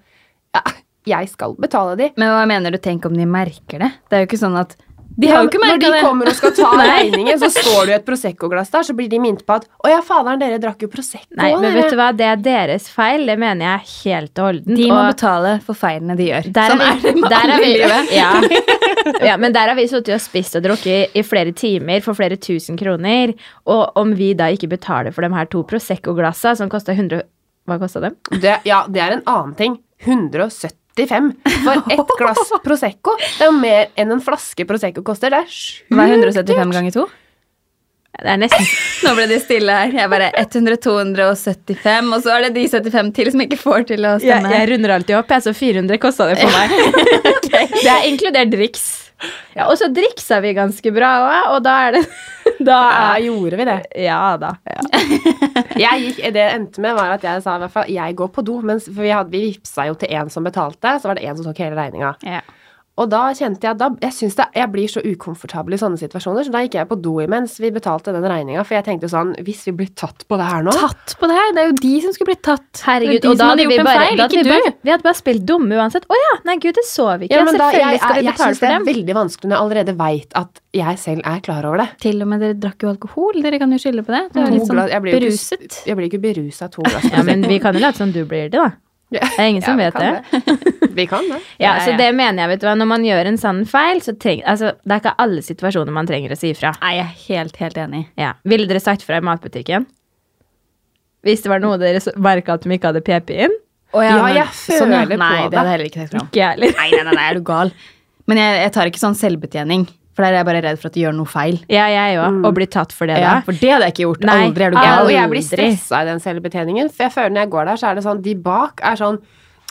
[SPEAKER 3] Ja, jeg skal betale de.
[SPEAKER 2] Men hva mener du? Tenk om de merker det? Det er jo ikke sånn at De
[SPEAKER 3] Ja,
[SPEAKER 2] har jo ikke merka
[SPEAKER 3] Når
[SPEAKER 2] det.
[SPEAKER 3] de kommer og skal ta
[SPEAKER 2] Nei.
[SPEAKER 3] regningen, så står det jo et Prosecco-glass der, så blir de minnet på at Å ja, faderen, dere drakk jo Prosecco.
[SPEAKER 4] Nei, men
[SPEAKER 3] dere.»
[SPEAKER 4] vet du hva, det er deres feil. Det mener jeg helt og holdent.
[SPEAKER 2] De må
[SPEAKER 4] og
[SPEAKER 2] betale for feilene de gjør.
[SPEAKER 4] der
[SPEAKER 2] sånn
[SPEAKER 4] er
[SPEAKER 2] er det
[SPEAKER 4] vi,
[SPEAKER 2] med
[SPEAKER 4] der er
[SPEAKER 2] alle
[SPEAKER 4] vi,
[SPEAKER 2] i livet.
[SPEAKER 4] ja. ja, men der har vi sittet og spist og drukket i, i flere timer for flere tusen kroner. Og om vi da ikke betaler for de her to Prosecco-glassa som kosta 100 Hva kosta dem?
[SPEAKER 3] Det, ja, det er en annen ting. 175 for ett glass Prosecco. Det er jo mer enn en flaske Prosecco koster. Det er sjukt.
[SPEAKER 2] Hva er 175 ganger 2?
[SPEAKER 4] Det er nesten
[SPEAKER 2] Nå ble de stille her. Jeg bare 100, 275, og så er det de 75 til som ikke får til å
[SPEAKER 4] Jeg,
[SPEAKER 2] stemme.
[SPEAKER 4] jeg runder alltid opp, jeg, så 400 kosta det for meg. Det er inkludert driks. Ja, og så driksa vi ganske bra òg, og da er det Da
[SPEAKER 3] Ja,
[SPEAKER 4] er
[SPEAKER 3] gjorde vi det?
[SPEAKER 4] Ja da.
[SPEAKER 3] Jeg gikk, det endte med var at jeg sa i hvert fall jeg går på do. Mens, for vi, hadde, vi vipsa jo til én som betalte, så var det én som tok hele regninga. Og da kjente jeg at da, jeg, synes det, jeg blir så ukomfortabel i sånne situasjoner, så da gikk jeg på do imens vi betalte den regninga. For jeg tenkte jo sånn, hvis vi blir tatt på det her nå
[SPEAKER 2] Tatt på det her! Det er jo de som skulle blitt tatt. Det
[SPEAKER 4] Herregud,
[SPEAKER 2] er de
[SPEAKER 4] og da
[SPEAKER 2] som
[SPEAKER 4] hadde
[SPEAKER 2] gjort
[SPEAKER 4] vi
[SPEAKER 2] en
[SPEAKER 4] bare,
[SPEAKER 2] feil,
[SPEAKER 4] da hadde vi,
[SPEAKER 2] ikke
[SPEAKER 4] bare, vi hadde bare spilt dumme uansett. Å ja! Nei, gud, det så vi ikke.
[SPEAKER 3] Ja, men da, jeg,
[SPEAKER 4] Selvfølgelig
[SPEAKER 3] jeg,
[SPEAKER 4] skal vi
[SPEAKER 3] jeg
[SPEAKER 4] betale
[SPEAKER 3] syns det
[SPEAKER 4] for
[SPEAKER 3] er
[SPEAKER 4] dem.
[SPEAKER 3] veldig vanskelig når jeg allerede veit at jeg selv er klar over det.
[SPEAKER 2] du. Til og med dere drakk jo alkohol. Dere kan jo skylde på det. Det er
[SPEAKER 3] To
[SPEAKER 2] jo litt sånn
[SPEAKER 3] glass- jeg blir jo ikke s-
[SPEAKER 2] beruset.
[SPEAKER 3] Jeg blir ikke berusa av to glass.
[SPEAKER 4] Ja, men vi kan jo late som du blir det, da. Det er ingen som vet det.
[SPEAKER 3] Vi kan det.
[SPEAKER 4] Ja,
[SPEAKER 2] Ja,
[SPEAKER 4] så
[SPEAKER 2] ja.
[SPEAKER 4] det mener jeg, vet du hva. Når man gjør en sånn feil, så treng, altså, det er ikke alle situasjoner man trenger å si ifra.
[SPEAKER 2] Nei, jeg er helt, helt enig.
[SPEAKER 4] Ja. Ville dere sagt fra i matbutikken? Hvis det var noe dere så- merka at de ikke hadde PP inn?
[SPEAKER 2] Å
[SPEAKER 3] Ja,
[SPEAKER 2] men-
[SPEAKER 3] jeg
[SPEAKER 2] sånn, ja.
[SPEAKER 3] føler på
[SPEAKER 2] nei,
[SPEAKER 3] det.
[SPEAKER 2] det hadde jeg heller ikke sagt fra om.
[SPEAKER 4] Ikke jeg heller.
[SPEAKER 2] Nei, nei, nei, nei, er du gal? Men jeg, jeg tar ikke sånn selvbetjening, for der er jeg bare redd for at de gjør noe feil.
[SPEAKER 4] Ja, jeg òg. Og bli tatt for det,
[SPEAKER 2] Ja,
[SPEAKER 4] da.
[SPEAKER 2] for det hadde jeg ikke gjort.
[SPEAKER 4] Nei,
[SPEAKER 2] Aldri er du
[SPEAKER 4] aldri.
[SPEAKER 2] gal.
[SPEAKER 3] og jeg blir
[SPEAKER 4] Aldri.
[SPEAKER 3] stressa i den selvbetjeningen, for jeg føler når jeg går der, så er det sånn De bak er sånn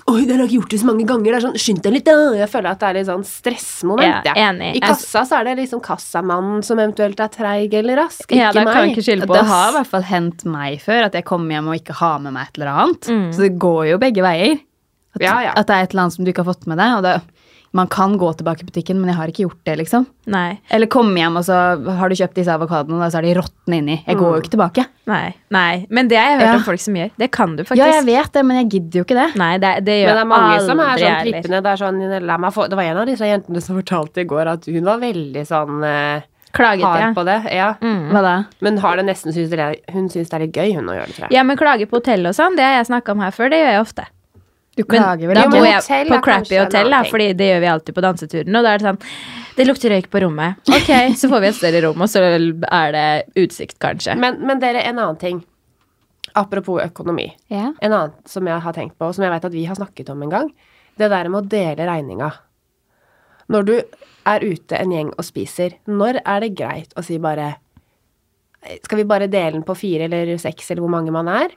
[SPEAKER 3] Oi, dere har ikke gjort det så mange ganger. Det er sånn, Skynd deg litt, da. Jeg føler at det er litt sånn stressmoment.
[SPEAKER 4] Ja, enig.
[SPEAKER 3] I kassa så er det liksom kassamannen som eventuelt er treig eller rask, ikke
[SPEAKER 4] Ja, da
[SPEAKER 3] meg.
[SPEAKER 4] kan ikke skylde på
[SPEAKER 2] Det har i
[SPEAKER 4] oss.
[SPEAKER 2] hvert fall hendt meg før at jeg kommer hjem og ikke har med meg et eller annet.
[SPEAKER 4] Mm.
[SPEAKER 2] Så det går jo begge veier. At,
[SPEAKER 3] Ja, ja.
[SPEAKER 2] at det er et eller annet som du ikke har fått med deg. Og det, man kan gå tilbake i butikken, men jeg har ikke gjort det, liksom.
[SPEAKER 4] Nei.
[SPEAKER 2] Eller komme hjem, og så har du kjøpt disse avokadoene, og så er de råtne inni. Jeg
[SPEAKER 4] Mm.
[SPEAKER 2] går jo ikke tilbake.
[SPEAKER 4] Nei. Nei. Men det har jeg hørt
[SPEAKER 2] Ja.
[SPEAKER 4] om folk som gjør. Det kan du faktisk.
[SPEAKER 2] Ja, jeg vet det, men jeg gidder jo ikke det.
[SPEAKER 4] Nei, det, det gjør
[SPEAKER 3] Men det er mange som er
[SPEAKER 4] aldri
[SPEAKER 3] sånn
[SPEAKER 4] jeg heller.
[SPEAKER 3] trippende. Det, er sånn, la meg få, det var en av disse jentene som fortalte i går at hun var veldig sånn eh,
[SPEAKER 4] Klaget,
[SPEAKER 3] hard
[SPEAKER 4] ja. Mm.
[SPEAKER 3] på det. Ja.
[SPEAKER 2] Hva da?
[SPEAKER 3] Men har det nesten synes det er, hun syns det er litt gøy, hun, å gjøre det, tror jeg.
[SPEAKER 4] Ja, men klage på hotell og sånn, det har jeg snakka om her før. Det gjør jeg ofte.
[SPEAKER 2] Du
[SPEAKER 4] Men
[SPEAKER 2] klager vel
[SPEAKER 4] da
[SPEAKER 3] Jo,
[SPEAKER 4] må
[SPEAKER 2] ikke?
[SPEAKER 3] men
[SPEAKER 4] jeg
[SPEAKER 3] hotell
[SPEAKER 4] på
[SPEAKER 3] er kanskje
[SPEAKER 4] crappy
[SPEAKER 3] en
[SPEAKER 4] hotell, da,
[SPEAKER 3] annen ting.
[SPEAKER 4] fordi det gjør vi alltid på danseturene. Og da er det sånn Det lukter røyk på rommet. Ok, så får vi et større rom, og så er det utsikt, kanskje.
[SPEAKER 3] Men, men dere, en annen ting. Apropos økonomi.
[SPEAKER 2] Ja.
[SPEAKER 3] En annen som jeg har tenkt på, og som jeg vet at vi har snakket om en gang. Det der med å dele regninga. Når du er ute en gjeng og spiser, når er det greit å si bare Skal vi bare dele den på fire eller seks, eller hvor mange man er?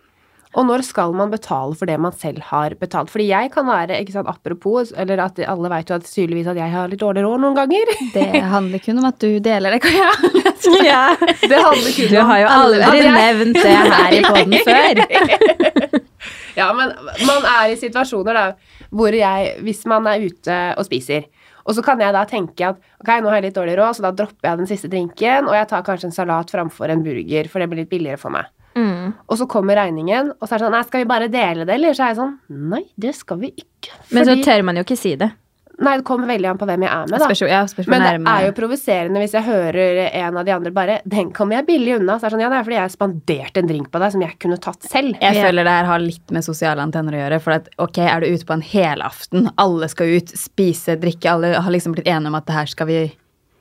[SPEAKER 3] Og når skal man betale for det man selv har betalt? Fordi jeg kan være, ikke sant, apropos, eller at alle veit jo at tydeligvis at jeg har litt dårlig råd noen ganger.
[SPEAKER 2] Det handler kun om at du deler det, Kaja.
[SPEAKER 4] Ja.
[SPEAKER 3] Det handler kun
[SPEAKER 4] Du
[SPEAKER 3] om
[SPEAKER 4] har jo
[SPEAKER 3] alle-
[SPEAKER 4] aldri
[SPEAKER 3] Ja, det er-
[SPEAKER 4] nevnt det her i poden før.
[SPEAKER 3] Ja, men man er i situasjoner da, hvor jeg, hvis man er ute og spiser, og så kan jeg da tenke at ok, nå har jeg litt dårlig råd, så da dropper jeg den siste drinken, og jeg tar kanskje en salat framfor en burger, for det blir litt billigere for meg.
[SPEAKER 4] Mm.
[SPEAKER 3] Og så kommer regningen, og så er det sånn Nei, skal vi bare dele det, eller? Så er jeg sånn Nei, det skal vi ikke.
[SPEAKER 4] Men så
[SPEAKER 3] Fordi-
[SPEAKER 4] tør man jo ikke si det.
[SPEAKER 3] Nei, det kommer veldig an på hvem jeg er med, da.
[SPEAKER 2] Spørs jo- ja, spørs hvor
[SPEAKER 3] Men det
[SPEAKER 2] nærme-
[SPEAKER 3] er jo provoserende hvis jeg hører en av de andre bare 'Den kom jeg billig unna.' Så er det sånn Ja, det er fordi jeg spanderte en drink på deg som jeg kunne tatt selv.
[SPEAKER 2] Jeg føler det her har litt med sosiale antenner å gjøre. For at, ok, er du ute på en helaften, alle skal ut, spise, drikke, alle har liksom blitt enige om at det her skal vi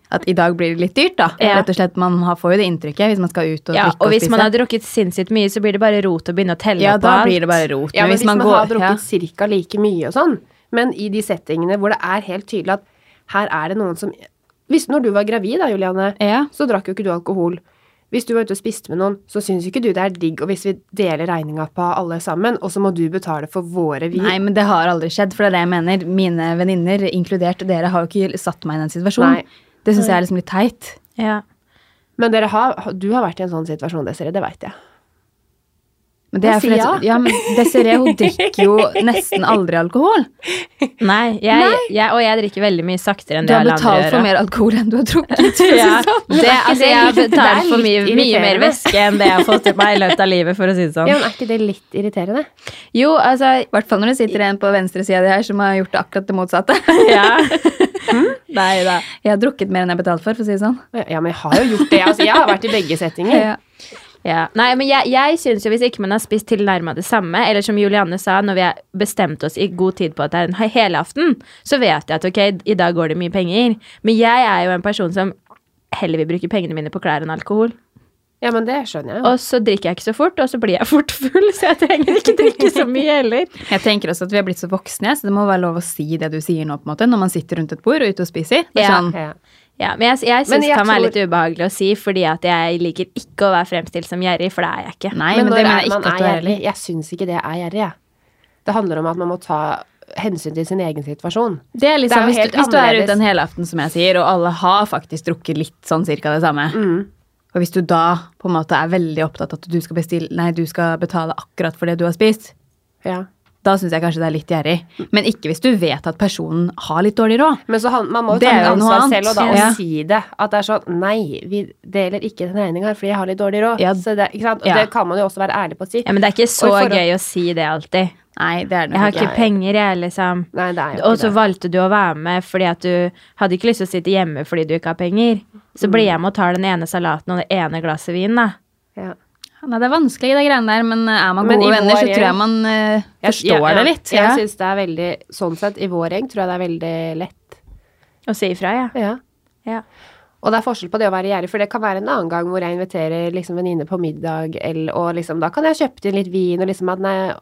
[SPEAKER 2] At i dag blir det litt dyrt, da.
[SPEAKER 4] Ja.
[SPEAKER 2] Rett og slett, Man har- får jo det inntrykket hvis man skal ut og
[SPEAKER 4] Ja,
[SPEAKER 2] drikke
[SPEAKER 4] og
[SPEAKER 2] og,
[SPEAKER 4] hvis
[SPEAKER 2] spise.
[SPEAKER 4] man har drukket sinnssykt mye, så blir det bare rot å begynne å telle
[SPEAKER 2] ja,
[SPEAKER 4] på
[SPEAKER 2] da
[SPEAKER 4] alt.
[SPEAKER 2] blir det bare rot.
[SPEAKER 3] Ja, men hvis man,
[SPEAKER 2] ja.
[SPEAKER 3] har drukket cirka like mye og sånn, men i de settingene hvor det er helt tydelig at her er det noen som hvis, Når du var gravid, da, Juliane,
[SPEAKER 2] Ja.
[SPEAKER 3] så drakk jo ikke du alkohol. Hvis du var ute og spiste med noen, så syns ikke du det er digg. Og hvis vi deler regninga på alle sammen, og så må du betale for våre vin
[SPEAKER 2] Nei, men det har aldri skjedd, for det er det jeg mener. Mine venninner, inkludert dere, har jo ikke satt meg i den situasjonen.
[SPEAKER 3] Nei.
[SPEAKER 2] Det syns jeg er liksom litt teit.
[SPEAKER 4] Ja.
[SPEAKER 3] Men dere har, du har vært i en sånn situasjon, Desiree. Det veit jeg.
[SPEAKER 2] Men det er fordi
[SPEAKER 3] Hva sier
[SPEAKER 2] at- ja, men Desiree hun drikker jo nesten aldri alkohol.
[SPEAKER 4] Nei, jeg, Jeg, og jeg drikker veldig mye saktere enn
[SPEAKER 2] Du
[SPEAKER 4] det
[SPEAKER 2] har
[SPEAKER 4] alle andre
[SPEAKER 2] betalt
[SPEAKER 4] gjør.
[SPEAKER 2] for mer alkohol enn du har drukket. for å si
[SPEAKER 4] Ja,
[SPEAKER 2] det sånn.
[SPEAKER 4] det,
[SPEAKER 3] er ikke
[SPEAKER 4] altså,
[SPEAKER 3] det
[SPEAKER 4] jeg har
[SPEAKER 3] litt- det er
[SPEAKER 4] betalt for mye,
[SPEAKER 3] litt
[SPEAKER 4] mye mer
[SPEAKER 3] irriterende.
[SPEAKER 4] væske enn det jeg har fått i meg i løpet av livet, for å si det sånn.
[SPEAKER 3] Ja, men Er ikke det litt irriterende?
[SPEAKER 4] Jo, altså
[SPEAKER 2] I hvert fall når det sitter en på venstresida di her som har gjort akkurat det motsatte.
[SPEAKER 4] Ja. Hm? Nei da.
[SPEAKER 2] Jeg har drukket mer enn jeg har betalt for, for å si det sånn.
[SPEAKER 3] Ja, men jeg har jo gjort det. Altså, jeg har vært i begge settinger.
[SPEAKER 2] Ja.
[SPEAKER 4] Ja. Nei, men jeg, jeg syns jo hvis ikke man har spist tilnærma det samme, eller som Julianne sa, når vi har bestemt oss i god tid på at det er en he- helaften, så vet jeg at ok, i dag går det mye penger. Men jeg er jo en person som heller vil bruke pengene mine på klær enn alkohol.
[SPEAKER 3] Ja, men det skjønner jeg. jo.
[SPEAKER 4] Og så drikker jeg ikke så fort, og så blir jeg fort full, så jeg trenger ikke drikke så mye heller.
[SPEAKER 2] Jeg tenker også at vi har blitt så voksne, så det må være lov å si det du sier nå, på en måte, når man sitter rundt et bord og er ute og spiser. Det er
[SPEAKER 4] Ja.
[SPEAKER 2] sånn,
[SPEAKER 3] Ja.
[SPEAKER 4] Ja, men jeg, jeg
[SPEAKER 3] Men
[SPEAKER 4] syns det
[SPEAKER 3] jeg
[SPEAKER 4] kan være
[SPEAKER 3] tror-
[SPEAKER 4] litt ubehagelig å si, fordi at jeg liker ikke å være fremstilt som gjerrig, for det er jeg ikke.
[SPEAKER 2] Nei,
[SPEAKER 3] men
[SPEAKER 2] men,
[SPEAKER 3] når
[SPEAKER 2] det
[SPEAKER 3] er
[SPEAKER 2] mener jeg
[SPEAKER 3] man
[SPEAKER 2] ikke at
[SPEAKER 3] er
[SPEAKER 2] du er
[SPEAKER 3] gjerrig?
[SPEAKER 2] heller.
[SPEAKER 3] Jeg syns ikke det er gjerrig, jeg. Det handler om at man må ta hensyn til sin egen situasjon.
[SPEAKER 2] Det er
[SPEAKER 3] Det er
[SPEAKER 2] liksom,
[SPEAKER 3] jo
[SPEAKER 2] hvis,
[SPEAKER 3] helt
[SPEAKER 2] du, hvis du er
[SPEAKER 3] annerledes.
[SPEAKER 2] ute en helaften, som jeg sier, og alle har faktisk drukket litt sånn cirka det samme,
[SPEAKER 3] Mm.
[SPEAKER 2] og hvis du da på en måte er veldig opptatt av at du skal, bestille, nei, du skal betale akkurat for det du har spist,
[SPEAKER 3] Ja.
[SPEAKER 2] da syns jeg kanskje det er litt gjerrig.
[SPEAKER 3] Mm.
[SPEAKER 2] Men ikke hvis du vet at personen har litt dårlig råd.
[SPEAKER 3] Men så han, man må jo
[SPEAKER 2] Det
[SPEAKER 3] ta
[SPEAKER 2] er
[SPEAKER 3] litt
[SPEAKER 2] jo noe
[SPEAKER 3] ansvar
[SPEAKER 2] annet.
[SPEAKER 3] selv og da og
[SPEAKER 2] Ja.
[SPEAKER 3] si det. At det er sånn Nei, vi deler ikke den regninga fordi jeg har litt dårlig råd.
[SPEAKER 2] Ja.
[SPEAKER 3] Så det, ikke sant? Og
[SPEAKER 2] Ja.
[SPEAKER 3] det kan man jo også være ærlig på å si.
[SPEAKER 4] Ja, men det er ikke
[SPEAKER 3] Og
[SPEAKER 4] så
[SPEAKER 3] i forhold-
[SPEAKER 4] gøy å si det alltid.
[SPEAKER 2] Nei, det er det
[SPEAKER 4] Jeg har
[SPEAKER 2] nok
[SPEAKER 4] ikke penger, jeg, liksom.
[SPEAKER 3] Nei, det er jo
[SPEAKER 4] Og
[SPEAKER 3] ikke
[SPEAKER 4] så
[SPEAKER 3] det.
[SPEAKER 4] valgte du å være med fordi at du hadde ikke lyst til å sitte hjemme fordi du ikke har penger. Så
[SPEAKER 3] Mm.
[SPEAKER 4] blir jeg med og tar den ene salaten og det ene glasset vin, da.
[SPEAKER 3] Ja.
[SPEAKER 2] Nei, det er vanskelig, de greiene der, men eh, er man
[SPEAKER 3] Men
[SPEAKER 2] gode
[SPEAKER 3] i
[SPEAKER 2] venner, så
[SPEAKER 3] vår
[SPEAKER 2] tror jeg
[SPEAKER 3] gjeng-
[SPEAKER 2] man eh,
[SPEAKER 3] Jeg-
[SPEAKER 2] forstår
[SPEAKER 3] ja, ja.
[SPEAKER 2] det litt.
[SPEAKER 3] Jeg
[SPEAKER 2] Ja.
[SPEAKER 3] synes det er veldig Sånn sett, i vår gjeng tror jeg det er veldig lett.
[SPEAKER 4] Og si ifra, ja.
[SPEAKER 3] Ja.
[SPEAKER 4] ja.
[SPEAKER 3] Og det er forskjell på det å være gjerrig, for det kan være en annen gang hvor jeg inviterer liksom venninne på middag, eller, og liksom, da kan jeg kjøpe til litt vin, og liksom at nei,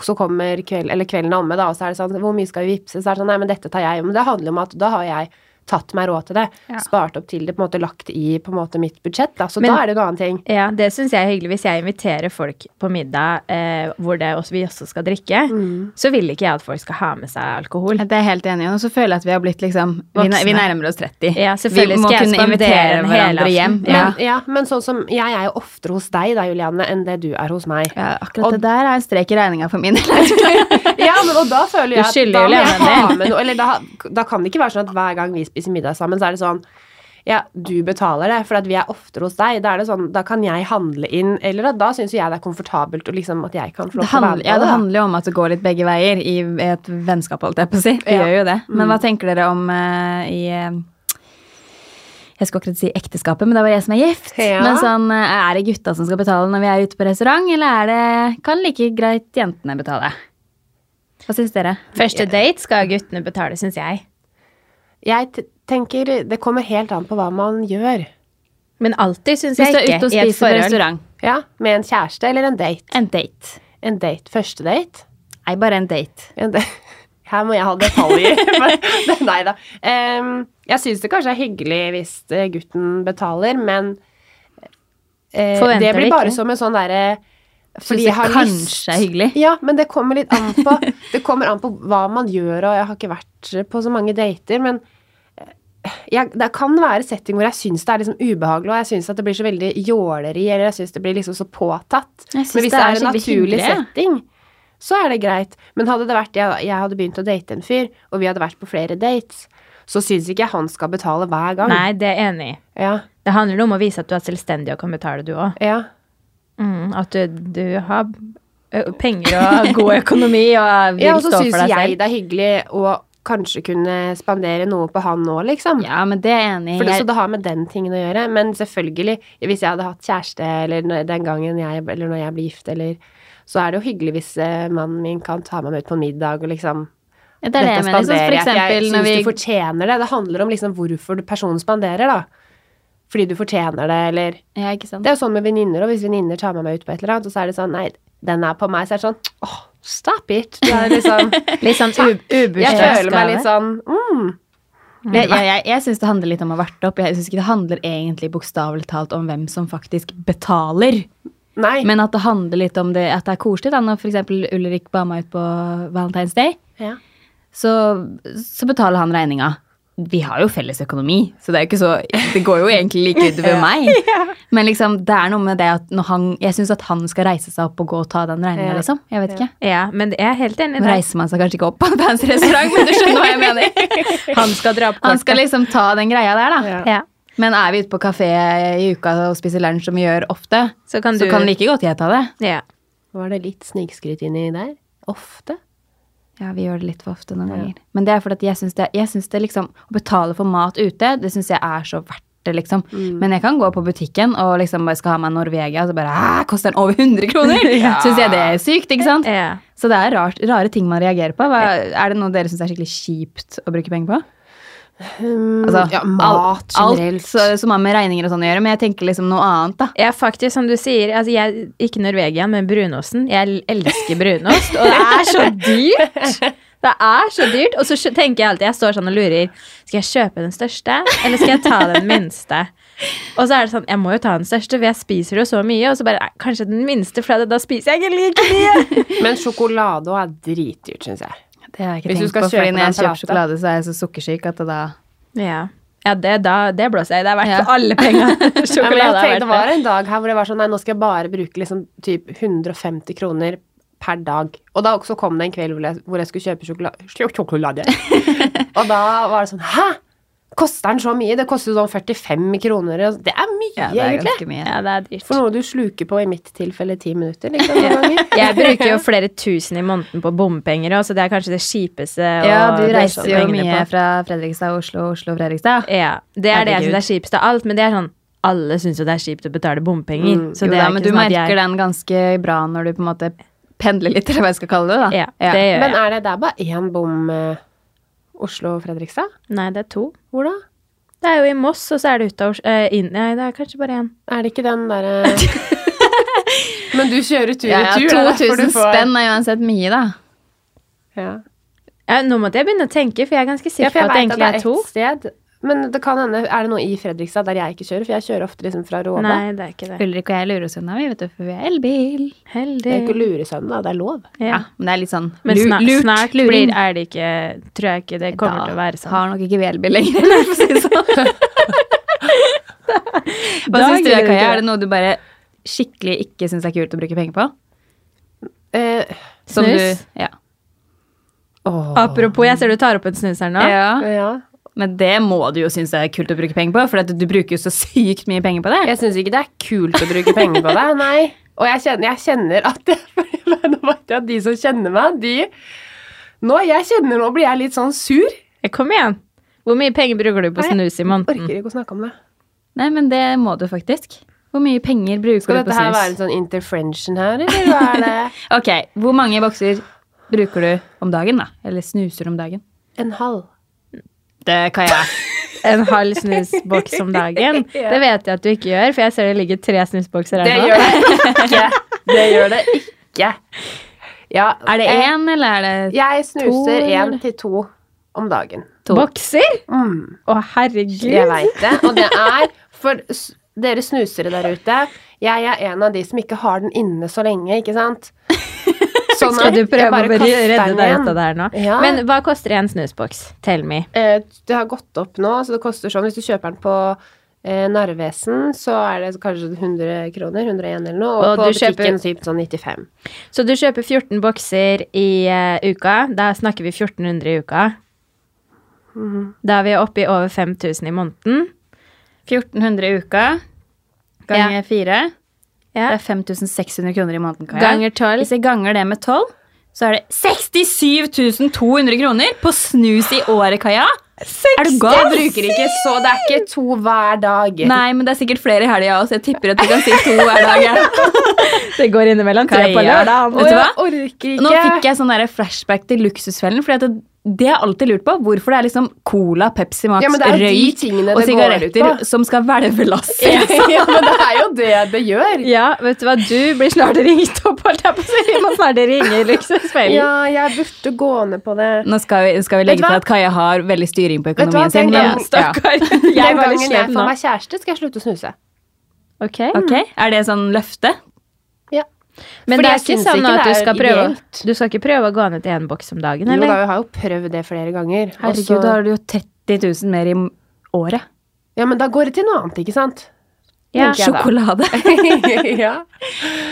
[SPEAKER 3] så kommer kveld, eller kvelden er omme, da, og så er det sånn, hvor mye skal vi vippse? Så er det sånn, nei, men dette tar jeg. Men det handler om at da har jeg tatt meg råd til det, spart opp til det, på en måte lagt i på en måte mitt budsjett, da. Så
[SPEAKER 4] Men-
[SPEAKER 3] da er det jo en annen ting.
[SPEAKER 4] Ja, Det syns jeg er hyggelig. Hvis jeg inviterer folk på middag eh, hvor det også, vi også skal drikke,
[SPEAKER 2] Mm.
[SPEAKER 4] så vil ikke jeg at folk skal ha med seg alkohol.
[SPEAKER 2] Det er jeg helt enig i. Og så føler jeg at vi har blitt liksom Vi,
[SPEAKER 4] Voksne.
[SPEAKER 2] vi nærmer oss 30.
[SPEAKER 4] Ja, selvfølgelig
[SPEAKER 2] vi må
[SPEAKER 4] skal jeg
[SPEAKER 2] kunne
[SPEAKER 4] spandere
[SPEAKER 2] invitere
[SPEAKER 4] en
[SPEAKER 2] hverandre
[SPEAKER 4] helaften.
[SPEAKER 2] hjem.
[SPEAKER 3] Men,
[SPEAKER 2] Ja.
[SPEAKER 3] ja. men sånn som, jeg er jo oftere hos deg da, Juliane, enn det du er hos meg.
[SPEAKER 2] Ja, akkurat
[SPEAKER 3] Og-
[SPEAKER 2] det der er en strek i regninga for min del.
[SPEAKER 3] Ja, men og da føler
[SPEAKER 4] Du
[SPEAKER 3] jeg at
[SPEAKER 4] skylder
[SPEAKER 3] da må
[SPEAKER 4] jo
[SPEAKER 3] jeg
[SPEAKER 4] levende.
[SPEAKER 3] ha med noe. Eller da, da kan det ikke være sånn at hver gang vi spiser middag sammen, så er det sånn ja, du betaler det, for at vi er oftere hos deg. Da er det sånn, da kan jeg handle inn, eller at da syns jeg det er komfortabelt og liksom at jeg kan få
[SPEAKER 2] Det
[SPEAKER 3] lov til å være
[SPEAKER 2] handler,
[SPEAKER 3] med.
[SPEAKER 2] ja,
[SPEAKER 3] på
[SPEAKER 2] det
[SPEAKER 3] da.
[SPEAKER 2] handler jo om at det går litt begge veier i et vennskap, holdt jeg på å si. Det
[SPEAKER 3] Ja. Mm.
[SPEAKER 2] gjør jo det. Men hva tenker dere om eh, i eh, Jeg skulle akkurat si ekteskapet, men det var jeg som er gift.
[SPEAKER 3] Ja.
[SPEAKER 2] Men sånn, eh, er det gutta som skal betale når vi er ute på restaurant, eller er det, kan like greit jentene betale? Hva syns dere?
[SPEAKER 4] Første date skal guttene betale, syns jeg.
[SPEAKER 3] Jeg t tenker det kommer helt an på hva man gjør.
[SPEAKER 4] Men alltid syns
[SPEAKER 2] Hvis
[SPEAKER 4] jeg
[SPEAKER 2] du er
[SPEAKER 4] ikke.
[SPEAKER 2] ute og
[SPEAKER 4] i et
[SPEAKER 2] spiser på
[SPEAKER 4] forhold.
[SPEAKER 2] restaurant,
[SPEAKER 3] Ja, Med en kjæreste eller en date.
[SPEAKER 2] en date.
[SPEAKER 3] En date. Første date.
[SPEAKER 2] Nei, bare en date.
[SPEAKER 3] En da- Her må jeg ha detaljer. men- Nei da. Em, jeg syns det kanskje er hyggelig hvis eh, gutten betaler, men eh,
[SPEAKER 4] Forventer
[SPEAKER 3] det
[SPEAKER 4] det
[SPEAKER 3] blir bare
[SPEAKER 4] ikke.
[SPEAKER 3] som en sånn derre
[SPEAKER 2] Synes det kanskje er hyggelig.
[SPEAKER 3] Ja, men det kommer litt an på Det kommer an på hva man gjør, og jeg har ikke vært på så mange dater, men eh, jeg, det kan være setting hvor jeg syns det er liksom ubehagelig, og jeg syns at det blir så veldig jåleri, eller jeg syns det blir liksom så påtatt.
[SPEAKER 2] Jeg
[SPEAKER 3] Men
[SPEAKER 2] syns det
[SPEAKER 3] hvis det
[SPEAKER 2] er
[SPEAKER 3] er en
[SPEAKER 2] skikkelig
[SPEAKER 3] naturlig
[SPEAKER 2] hyggelig, jeg.
[SPEAKER 3] setting, så er det greit. Men hadde det vært jeg, jeg hadde begynt å date en fyr, og vi hadde vært på flere dates, så syns ikke jeg han skal betale hver gang.
[SPEAKER 4] Nei, det er jeg enig i.
[SPEAKER 3] Ja,
[SPEAKER 4] Det handler om å vise at du er selvstendig og kan betale, du òg.
[SPEAKER 3] ja.
[SPEAKER 4] Mm, at du, du har ø, penger og god økonomi og vil
[SPEAKER 3] Ja, og så
[SPEAKER 4] stå for
[SPEAKER 3] syns
[SPEAKER 4] deg
[SPEAKER 3] jeg
[SPEAKER 4] selv.
[SPEAKER 3] det er hyggelig å kanskje kunne spandere noe på han nå, liksom.
[SPEAKER 2] Ja, men det er jeg enig i.
[SPEAKER 3] For det, så
[SPEAKER 2] Jeg-
[SPEAKER 3] det har med den tingen å gjøre. Men selvfølgelig, hvis jeg hadde hatt kjæreste, eller når- den gangen jeg, eller når jeg blir gift, eller Så er det jo hyggelig hvis eh, mannen min kan ta meg med ut på en middag og liksom
[SPEAKER 2] Ja, Det er det jeg mener. Sånn, for
[SPEAKER 3] spanderer jeg, for
[SPEAKER 2] eksempel
[SPEAKER 3] jeg
[SPEAKER 2] når
[SPEAKER 3] syns du
[SPEAKER 2] vi
[SPEAKER 3] fortjener det. Det handler om liksom hvorfor du- personen spanderer, da. Fordi du fortjener det, eller
[SPEAKER 2] Ja, ikke sant.
[SPEAKER 3] Det er jo sånn med venninner òg. Hvis venninner tar med meg ut på et eller annet, og så er det sånn Nei, den er på meg. Så er det sånn Åh, stop it. Det er liksom
[SPEAKER 4] Litt sånn u-
[SPEAKER 3] Jeg føler meg
[SPEAKER 4] ubursdagsgave.
[SPEAKER 3] litt sånn mm.
[SPEAKER 2] Jeg, jeg, jeg, jeg syns det handler litt om å varte opp. Jeg syns ikke det handler egentlig bokstavelig talt om hvem som faktisk betaler.
[SPEAKER 3] Nei.
[SPEAKER 2] Men at det handler litt om det, at det er koselig. da, Når f.eks. Ulrik ba meg ut på Valentine's Day,
[SPEAKER 3] ja.
[SPEAKER 2] så, så betaler han regninga. Vi har jo felles økonomi, så det er jo ikke så, det går jo egentlig like utover meg. Men liksom, det er noe med det at når han, jeg syns at han skal reise seg opp og gå og ta den regninga,
[SPEAKER 3] Ja.
[SPEAKER 2] liksom. Jeg vet ikke.
[SPEAKER 4] Ja, men jeg er helt enig. i
[SPEAKER 2] Nå
[SPEAKER 4] det.
[SPEAKER 2] reiser man seg kanskje ikke opp på en fancy restaurant, men du skjønner hva jeg mener.
[SPEAKER 4] Han skal dra opp
[SPEAKER 2] Han skal
[SPEAKER 4] kortet.
[SPEAKER 2] liksom ta den greia der, da.
[SPEAKER 3] Ja.
[SPEAKER 4] Ja.
[SPEAKER 2] Men er vi ute på kafé i uka og spiser lunsj, som vi gjør ofte,
[SPEAKER 4] Så kan du
[SPEAKER 2] så kan like godt jeg ta det.
[SPEAKER 4] ja.
[SPEAKER 3] Var det litt snikskryt inni der? Ofte?
[SPEAKER 2] Ja, vi gjør det litt for ofte noen ganger. Men det er fordi at jeg syns det, jeg synes det liksom Å betale for mat ute, det syns jeg er så verdt det, liksom. Men jeg kan gå på butikken og liksom bare skal ha meg en Norvegia, og så bare Æ, koster den over 100 kroner! Syns jeg det er sykt, ikke sant?
[SPEAKER 4] Ja.
[SPEAKER 2] Så det er rart, rare ting man reagerer på. Hva, er det noe dere syns er skikkelig kjipt å bruke penger på? Altså,
[SPEAKER 3] Um, ja,
[SPEAKER 2] al-
[SPEAKER 3] mat generelt.
[SPEAKER 2] Alt så, som har med regninger og sånn å gjøre, men jeg tenker liksom noe annet, da.
[SPEAKER 4] Ja, faktisk, som du sier, altså jeg, ikke Norvegia, men brunosten. Jeg l- elsker brunost, og det er så dyrt! Det er så dyrt. Og så skjø- tenker jeg alltid, jeg står sånn og lurer, skal jeg kjøpe den største, eller skal jeg ta den minste? Og så er det sånn, jeg må jo ta den største, for jeg spiser jo så mye, og så bare, nei, kanskje den minste, for da- da spiser jeg ikke like mye.
[SPEAKER 3] Men sjokolade også er dritdyrt, syns jeg.
[SPEAKER 2] Det har jeg ikke
[SPEAKER 3] Hvis du
[SPEAKER 2] tenkt
[SPEAKER 3] skal
[SPEAKER 2] på, fordi
[SPEAKER 3] kjøpe
[SPEAKER 2] når jeg
[SPEAKER 3] den
[SPEAKER 2] kjøper
[SPEAKER 3] plata.
[SPEAKER 2] sjokolade, så er jeg så sukkersyk at det da
[SPEAKER 4] Ja, ja det, da, det blåser jeg i. Det er verdt
[SPEAKER 2] Ja.
[SPEAKER 4] alle penger.
[SPEAKER 3] Ja, men jeg
[SPEAKER 4] Sjokolade er
[SPEAKER 3] tenkte, det
[SPEAKER 4] verdt
[SPEAKER 3] var
[SPEAKER 4] det.
[SPEAKER 3] en dag her hvor det var sånn Nei, nå skal jeg bare bruke liksom typ 150 kroner per dag. Og da også kom det en kveld hvor jeg, hvor jeg skulle kjøpe sjokolade, sjokolade. Og da var det sånn Hæ? Koster den så mye? Det koster jo sånn 45 kroner. og Det er mye,
[SPEAKER 2] Ja, det er
[SPEAKER 3] egentlig.
[SPEAKER 2] ganske mye.
[SPEAKER 4] Ja, det er dyrt.
[SPEAKER 3] For noe du sluker på, i mitt tilfelle, ti minutter. Liksom, noen ganger.
[SPEAKER 4] Jeg bruker jo flere tusen i måneden på bompenger også, så det er kanskje det kjipeste. å
[SPEAKER 2] Ja, du
[SPEAKER 4] bruke
[SPEAKER 2] reiser jo
[SPEAKER 4] pengene
[SPEAKER 2] mye
[SPEAKER 4] på.
[SPEAKER 2] fra Fredrikstad, Oslo, Oslo, Fredrikstad.
[SPEAKER 4] Ja, det er det
[SPEAKER 2] Herregud.
[SPEAKER 4] jeg synes er kjipest av alt, men det er sånn alle syns jo det er kjipt å betale bompenger.
[SPEAKER 2] Mm, Jo
[SPEAKER 4] så det
[SPEAKER 2] da,
[SPEAKER 4] er
[SPEAKER 2] men
[SPEAKER 4] ikke
[SPEAKER 2] du
[SPEAKER 4] sånn at
[SPEAKER 2] merker
[SPEAKER 4] jeg,
[SPEAKER 2] den ganske bra når du på en måte pendler litt, eller hva jeg skal kalle det, da.
[SPEAKER 4] Ja, det gjør
[SPEAKER 3] Men
[SPEAKER 4] jeg.
[SPEAKER 3] er det, det er bare én bom eh, Oslo-Fredrikstad?
[SPEAKER 4] Nei, det er to.
[SPEAKER 3] Hvor da?
[SPEAKER 4] Det er jo i Moss, og så er det ut av Os- eh, inn, Nei, det er kanskje bare én.
[SPEAKER 3] Er det ikke den derre Men du kjører tur
[SPEAKER 2] Ja,
[SPEAKER 3] i
[SPEAKER 2] ja,
[SPEAKER 3] tur. det er derfor du
[SPEAKER 2] 2000
[SPEAKER 3] får-
[SPEAKER 2] spenn er uansett mye, da.
[SPEAKER 3] Ja.
[SPEAKER 4] Ja, nå måtte jeg begynne å tenke, for jeg er ganske
[SPEAKER 3] Ja,
[SPEAKER 4] sikker
[SPEAKER 3] for jeg vet
[SPEAKER 4] på at det
[SPEAKER 3] at
[SPEAKER 4] egentlig
[SPEAKER 3] det
[SPEAKER 4] er
[SPEAKER 3] er
[SPEAKER 4] to.
[SPEAKER 3] ett sted. Men det kan hende Er det noe i Fredrikstad der jeg ikke kjører? For jeg kjører ofte liksom fra Råde.
[SPEAKER 4] Nei, det er ikke det.
[SPEAKER 2] Ulrik og jeg lurer oss unna, vi, vet du, for vi er elbil.
[SPEAKER 3] Det er ikke å
[SPEAKER 4] Heldig.
[SPEAKER 3] lure sønnen, da. Det er lov.
[SPEAKER 2] Ja,
[SPEAKER 4] Ja.
[SPEAKER 2] men det er litt sånn
[SPEAKER 4] Men
[SPEAKER 2] lu-
[SPEAKER 4] snart,
[SPEAKER 2] lurt,
[SPEAKER 4] snart blir, er det ikke Tror jeg ikke det kommer
[SPEAKER 2] Da
[SPEAKER 4] til å være sånn.
[SPEAKER 2] har nok ikke vi elbil lenger, for å si det sånn. Hva
[SPEAKER 4] Da
[SPEAKER 2] syns du,
[SPEAKER 4] gidder du
[SPEAKER 2] Kaja?
[SPEAKER 4] ikke.
[SPEAKER 2] Er det noe du bare skikkelig ikke syns er kult å bruke penger på?
[SPEAKER 3] Eh,
[SPEAKER 2] Som
[SPEAKER 4] Snus?
[SPEAKER 2] Du, ja.
[SPEAKER 3] åh.
[SPEAKER 4] Apropos, jeg ser du tar opp en snus her nå.
[SPEAKER 2] ja.
[SPEAKER 3] Ja.
[SPEAKER 2] Men det må du jo synes er kult å bruke penger på, for at du bruker jo så sykt mye penger på det.
[SPEAKER 3] Jeg syns ikke det er kult å bruke penger på det. Nei. Og jeg kjenner, jeg kjenner at Nå vet jeg at de som kjenner meg, de Nå, jeg kjenner, nå blir jeg litt sånn sur.
[SPEAKER 4] Eh, Kom igjen. Hvor mye penger bruker du på
[SPEAKER 3] Nei,
[SPEAKER 4] snus i måneden?
[SPEAKER 3] Orker ikke å snakke om det.
[SPEAKER 2] Nei, men det må du faktisk. Hvor mye penger bruker
[SPEAKER 3] Skal
[SPEAKER 2] du på
[SPEAKER 3] dette her
[SPEAKER 2] snus?
[SPEAKER 3] være en sånn interfrenchen her, eller hva er det?
[SPEAKER 2] Ok, hvor mange bokser bruker du om dagen, da? Eller snuser om dagen?
[SPEAKER 3] En halv.
[SPEAKER 2] Det kan jeg.
[SPEAKER 4] En halv snusboks om dagen? Det vet jeg at du ikke gjør, for jeg ser det ligger tre snusbokser
[SPEAKER 3] Det
[SPEAKER 4] her nå.
[SPEAKER 3] gjør det ikke. Det gjør det ikke. Ja,
[SPEAKER 2] Er det
[SPEAKER 3] eh,
[SPEAKER 2] én, eller er det
[SPEAKER 3] Jeg snuser én
[SPEAKER 2] eller?
[SPEAKER 3] til to om dagen.
[SPEAKER 2] to?
[SPEAKER 4] Bokser?
[SPEAKER 3] Mm.
[SPEAKER 4] Å, herregud.
[SPEAKER 3] Jeg veit det. Og det er for s- dere snusere der ute Jeg er en av de som ikke har den inne så lenge, ikke sant? Sånn at
[SPEAKER 4] Skal du
[SPEAKER 3] jeg
[SPEAKER 4] prøve
[SPEAKER 3] bare
[SPEAKER 4] å bare
[SPEAKER 3] kaster
[SPEAKER 4] redde
[SPEAKER 3] den
[SPEAKER 4] deg
[SPEAKER 3] igjen.
[SPEAKER 4] ut av det her nå?
[SPEAKER 3] Ja.
[SPEAKER 4] Men hva koster en snusboks? Tell me.
[SPEAKER 3] Eh, Det har gått opp nå, så det koster sånn Hvis du kjøper den på eh, Narvesen, så er det kanskje 100 kroner, 101 eller noe, og,
[SPEAKER 4] Og
[SPEAKER 3] på
[SPEAKER 4] du kjøper-
[SPEAKER 3] butikken typ sånn 95.
[SPEAKER 4] Så du kjøper 14 bokser i eh, uka. Da snakker vi 1400 i uka.
[SPEAKER 3] Mhm.
[SPEAKER 4] Da er vi oppe i over 5000 i måneden.
[SPEAKER 2] 1400 i uka ganger fire
[SPEAKER 4] Ja.
[SPEAKER 2] Det er 5600 kroner i måneden. Kaja.
[SPEAKER 4] Ganger 12.
[SPEAKER 2] Hvis jeg ganger det med 12, så er det 67200 kroner på snus i året, Kaja. Er du gal?
[SPEAKER 3] Jeg bruker ikke så Det er ikke to hver dag.
[SPEAKER 2] Nei, men det er sikkert flere i helga også. Jeg tipper at du kan si to hver dag. jeg.
[SPEAKER 4] Det går innimellom tre
[SPEAKER 2] Kaja.
[SPEAKER 4] på lørdag.
[SPEAKER 2] Vet du hva?
[SPEAKER 3] jeg orker ikke.
[SPEAKER 2] Nå fikk jeg sånn der flashback til Luksusfellen. Fordi at det, det har jeg alltid lurt på. Hvorfor det er liksom Cola, Pepsi Max,
[SPEAKER 3] Ja, men det er jo de
[SPEAKER 2] røyk
[SPEAKER 3] tingene det
[SPEAKER 2] og
[SPEAKER 3] går ut
[SPEAKER 2] sigaretter
[SPEAKER 3] på.
[SPEAKER 2] som skal hvelve lasset.
[SPEAKER 3] ja, men det er jo det det gjør.
[SPEAKER 4] Ja, vet du hva? Du blir snart ringt opp, holdt jeg på å si. Vi må snart ringe Luksusfellen.
[SPEAKER 3] Ja, jeg burde gå ned på det.
[SPEAKER 2] Nå skal vi, skal vi
[SPEAKER 3] Vet
[SPEAKER 2] legge
[SPEAKER 3] du
[SPEAKER 2] til
[SPEAKER 3] hva?
[SPEAKER 2] at Kaja har veldig styring på
[SPEAKER 3] du hva?
[SPEAKER 2] økonomien
[SPEAKER 3] Den
[SPEAKER 2] sin.
[SPEAKER 3] gangen-
[SPEAKER 2] men-
[SPEAKER 4] Stakkar. Jeg
[SPEAKER 3] Den
[SPEAKER 4] er veldig
[SPEAKER 3] gangen jeg
[SPEAKER 4] slem
[SPEAKER 3] får
[SPEAKER 4] nå.
[SPEAKER 3] meg kjæreste, skal jeg slutte å snuse.
[SPEAKER 4] Ok.
[SPEAKER 2] Ok, Er det sånn løfte?
[SPEAKER 3] Ja.
[SPEAKER 4] Men
[SPEAKER 3] Fordi
[SPEAKER 4] det er
[SPEAKER 3] jeg
[SPEAKER 4] ikke
[SPEAKER 3] syns
[SPEAKER 4] sånn
[SPEAKER 3] ikke
[SPEAKER 4] at du
[SPEAKER 3] det er
[SPEAKER 4] skal prøve
[SPEAKER 3] ideelt.
[SPEAKER 4] Du skal ikke prøve å gå ned til én boks om dagen,
[SPEAKER 3] Jo da,
[SPEAKER 4] eller?
[SPEAKER 3] jeg har jo prøvd det flere ganger. og
[SPEAKER 2] Herregud,
[SPEAKER 3] så-
[SPEAKER 2] da har du jo 30 000 mer i året.
[SPEAKER 3] Ja, men da går det til noe annet, ikke sant?
[SPEAKER 4] Ja.
[SPEAKER 3] tenker jeg da.
[SPEAKER 2] Sjokolade.
[SPEAKER 3] ja.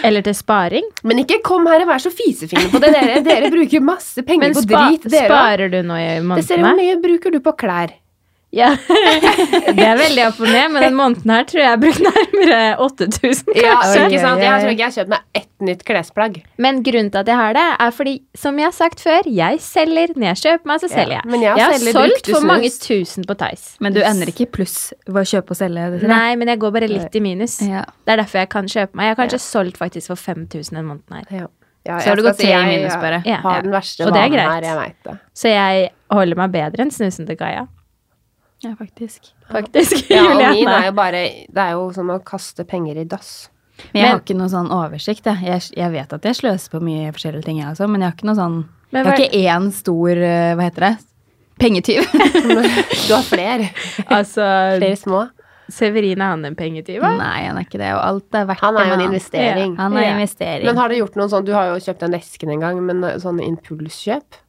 [SPEAKER 4] Eller til sparing?
[SPEAKER 3] Men ikke kom her og vær så fisefine på det. Dere, dere bruker masse penger
[SPEAKER 4] Men
[SPEAKER 3] på
[SPEAKER 4] spa
[SPEAKER 3] drit. Dere.
[SPEAKER 4] sparer du nå i
[SPEAKER 3] Jeg ser hvor
[SPEAKER 4] månedene?
[SPEAKER 3] mye bruker du på klær.
[SPEAKER 4] Ja. Det er veldig opp og ned, men den måneden her tror jeg jeg har brukt nærmere 8000,
[SPEAKER 3] Ja,
[SPEAKER 4] kanskje.
[SPEAKER 3] ikke
[SPEAKER 2] Oi, oi,
[SPEAKER 3] sant?
[SPEAKER 2] oi.
[SPEAKER 3] Jeg tror ikke jeg har kjøpt meg ett nytt klesplagg.
[SPEAKER 4] Men grunnen til at jeg har det, er fordi, som jeg har sagt før, jeg selger. Når jeg kjøper meg, så selger jeg.
[SPEAKER 3] men jeg
[SPEAKER 4] har
[SPEAKER 3] selger
[SPEAKER 4] solgt
[SPEAKER 3] brukte
[SPEAKER 4] for
[SPEAKER 3] snus.
[SPEAKER 4] mange tusen på Tice.
[SPEAKER 2] Men du ender ikke i pluss ved å kjøpe og selge? det til deg.
[SPEAKER 4] Nei, men jeg går bare litt i minus.
[SPEAKER 2] Ja.
[SPEAKER 4] Det er derfor jeg kan kjøpe meg. Jeg har kanskje solgt faktisk for 5000 en måned her.
[SPEAKER 3] Ja. Ja,
[SPEAKER 2] Så har du
[SPEAKER 3] jeg
[SPEAKER 2] gått
[SPEAKER 3] skal si
[SPEAKER 2] tre i
[SPEAKER 3] jeg,
[SPEAKER 2] minus,
[SPEAKER 3] ja,
[SPEAKER 2] bare.
[SPEAKER 4] Ja.
[SPEAKER 3] Har den verste
[SPEAKER 4] Og det er
[SPEAKER 3] vanen
[SPEAKER 4] greit.
[SPEAKER 3] her, jeg veit det.
[SPEAKER 4] Så jeg holder meg bedre enn snusen til Gaia.
[SPEAKER 2] Ja, faktisk.
[SPEAKER 4] Faktisk.
[SPEAKER 3] Ja, og
[SPEAKER 4] Juliane.
[SPEAKER 3] min er jo bare Det er jo som å kaste penger i dass.
[SPEAKER 2] Men jeg
[SPEAKER 4] Men-
[SPEAKER 2] har ikke noe sånn oversikt. Jeg. Jeg, jeg vet at jeg sløser på mye forskjellige ting, jeg også, men jeg har ikke noe sånn
[SPEAKER 4] Men
[SPEAKER 2] Jeg har
[SPEAKER 4] hva-
[SPEAKER 2] ikke én stor eh, Hva heter det? Pengetyv.
[SPEAKER 3] Du har flere.
[SPEAKER 4] Altså,
[SPEAKER 3] Flere små.
[SPEAKER 4] Severin er han en pengetyv? da?
[SPEAKER 2] Nei, han er ikke det. Og alt er verdt
[SPEAKER 3] Han er jo en
[SPEAKER 2] annen.
[SPEAKER 3] investering.
[SPEAKER 2] Han er
[SPEAKER 4] Ja.
[SPEAKER 2] investering.
[SPEAKER 3] Men har du gjort noen sånn Du har jo kjøpt den esken en gang, men eh, sånn impulskjøp?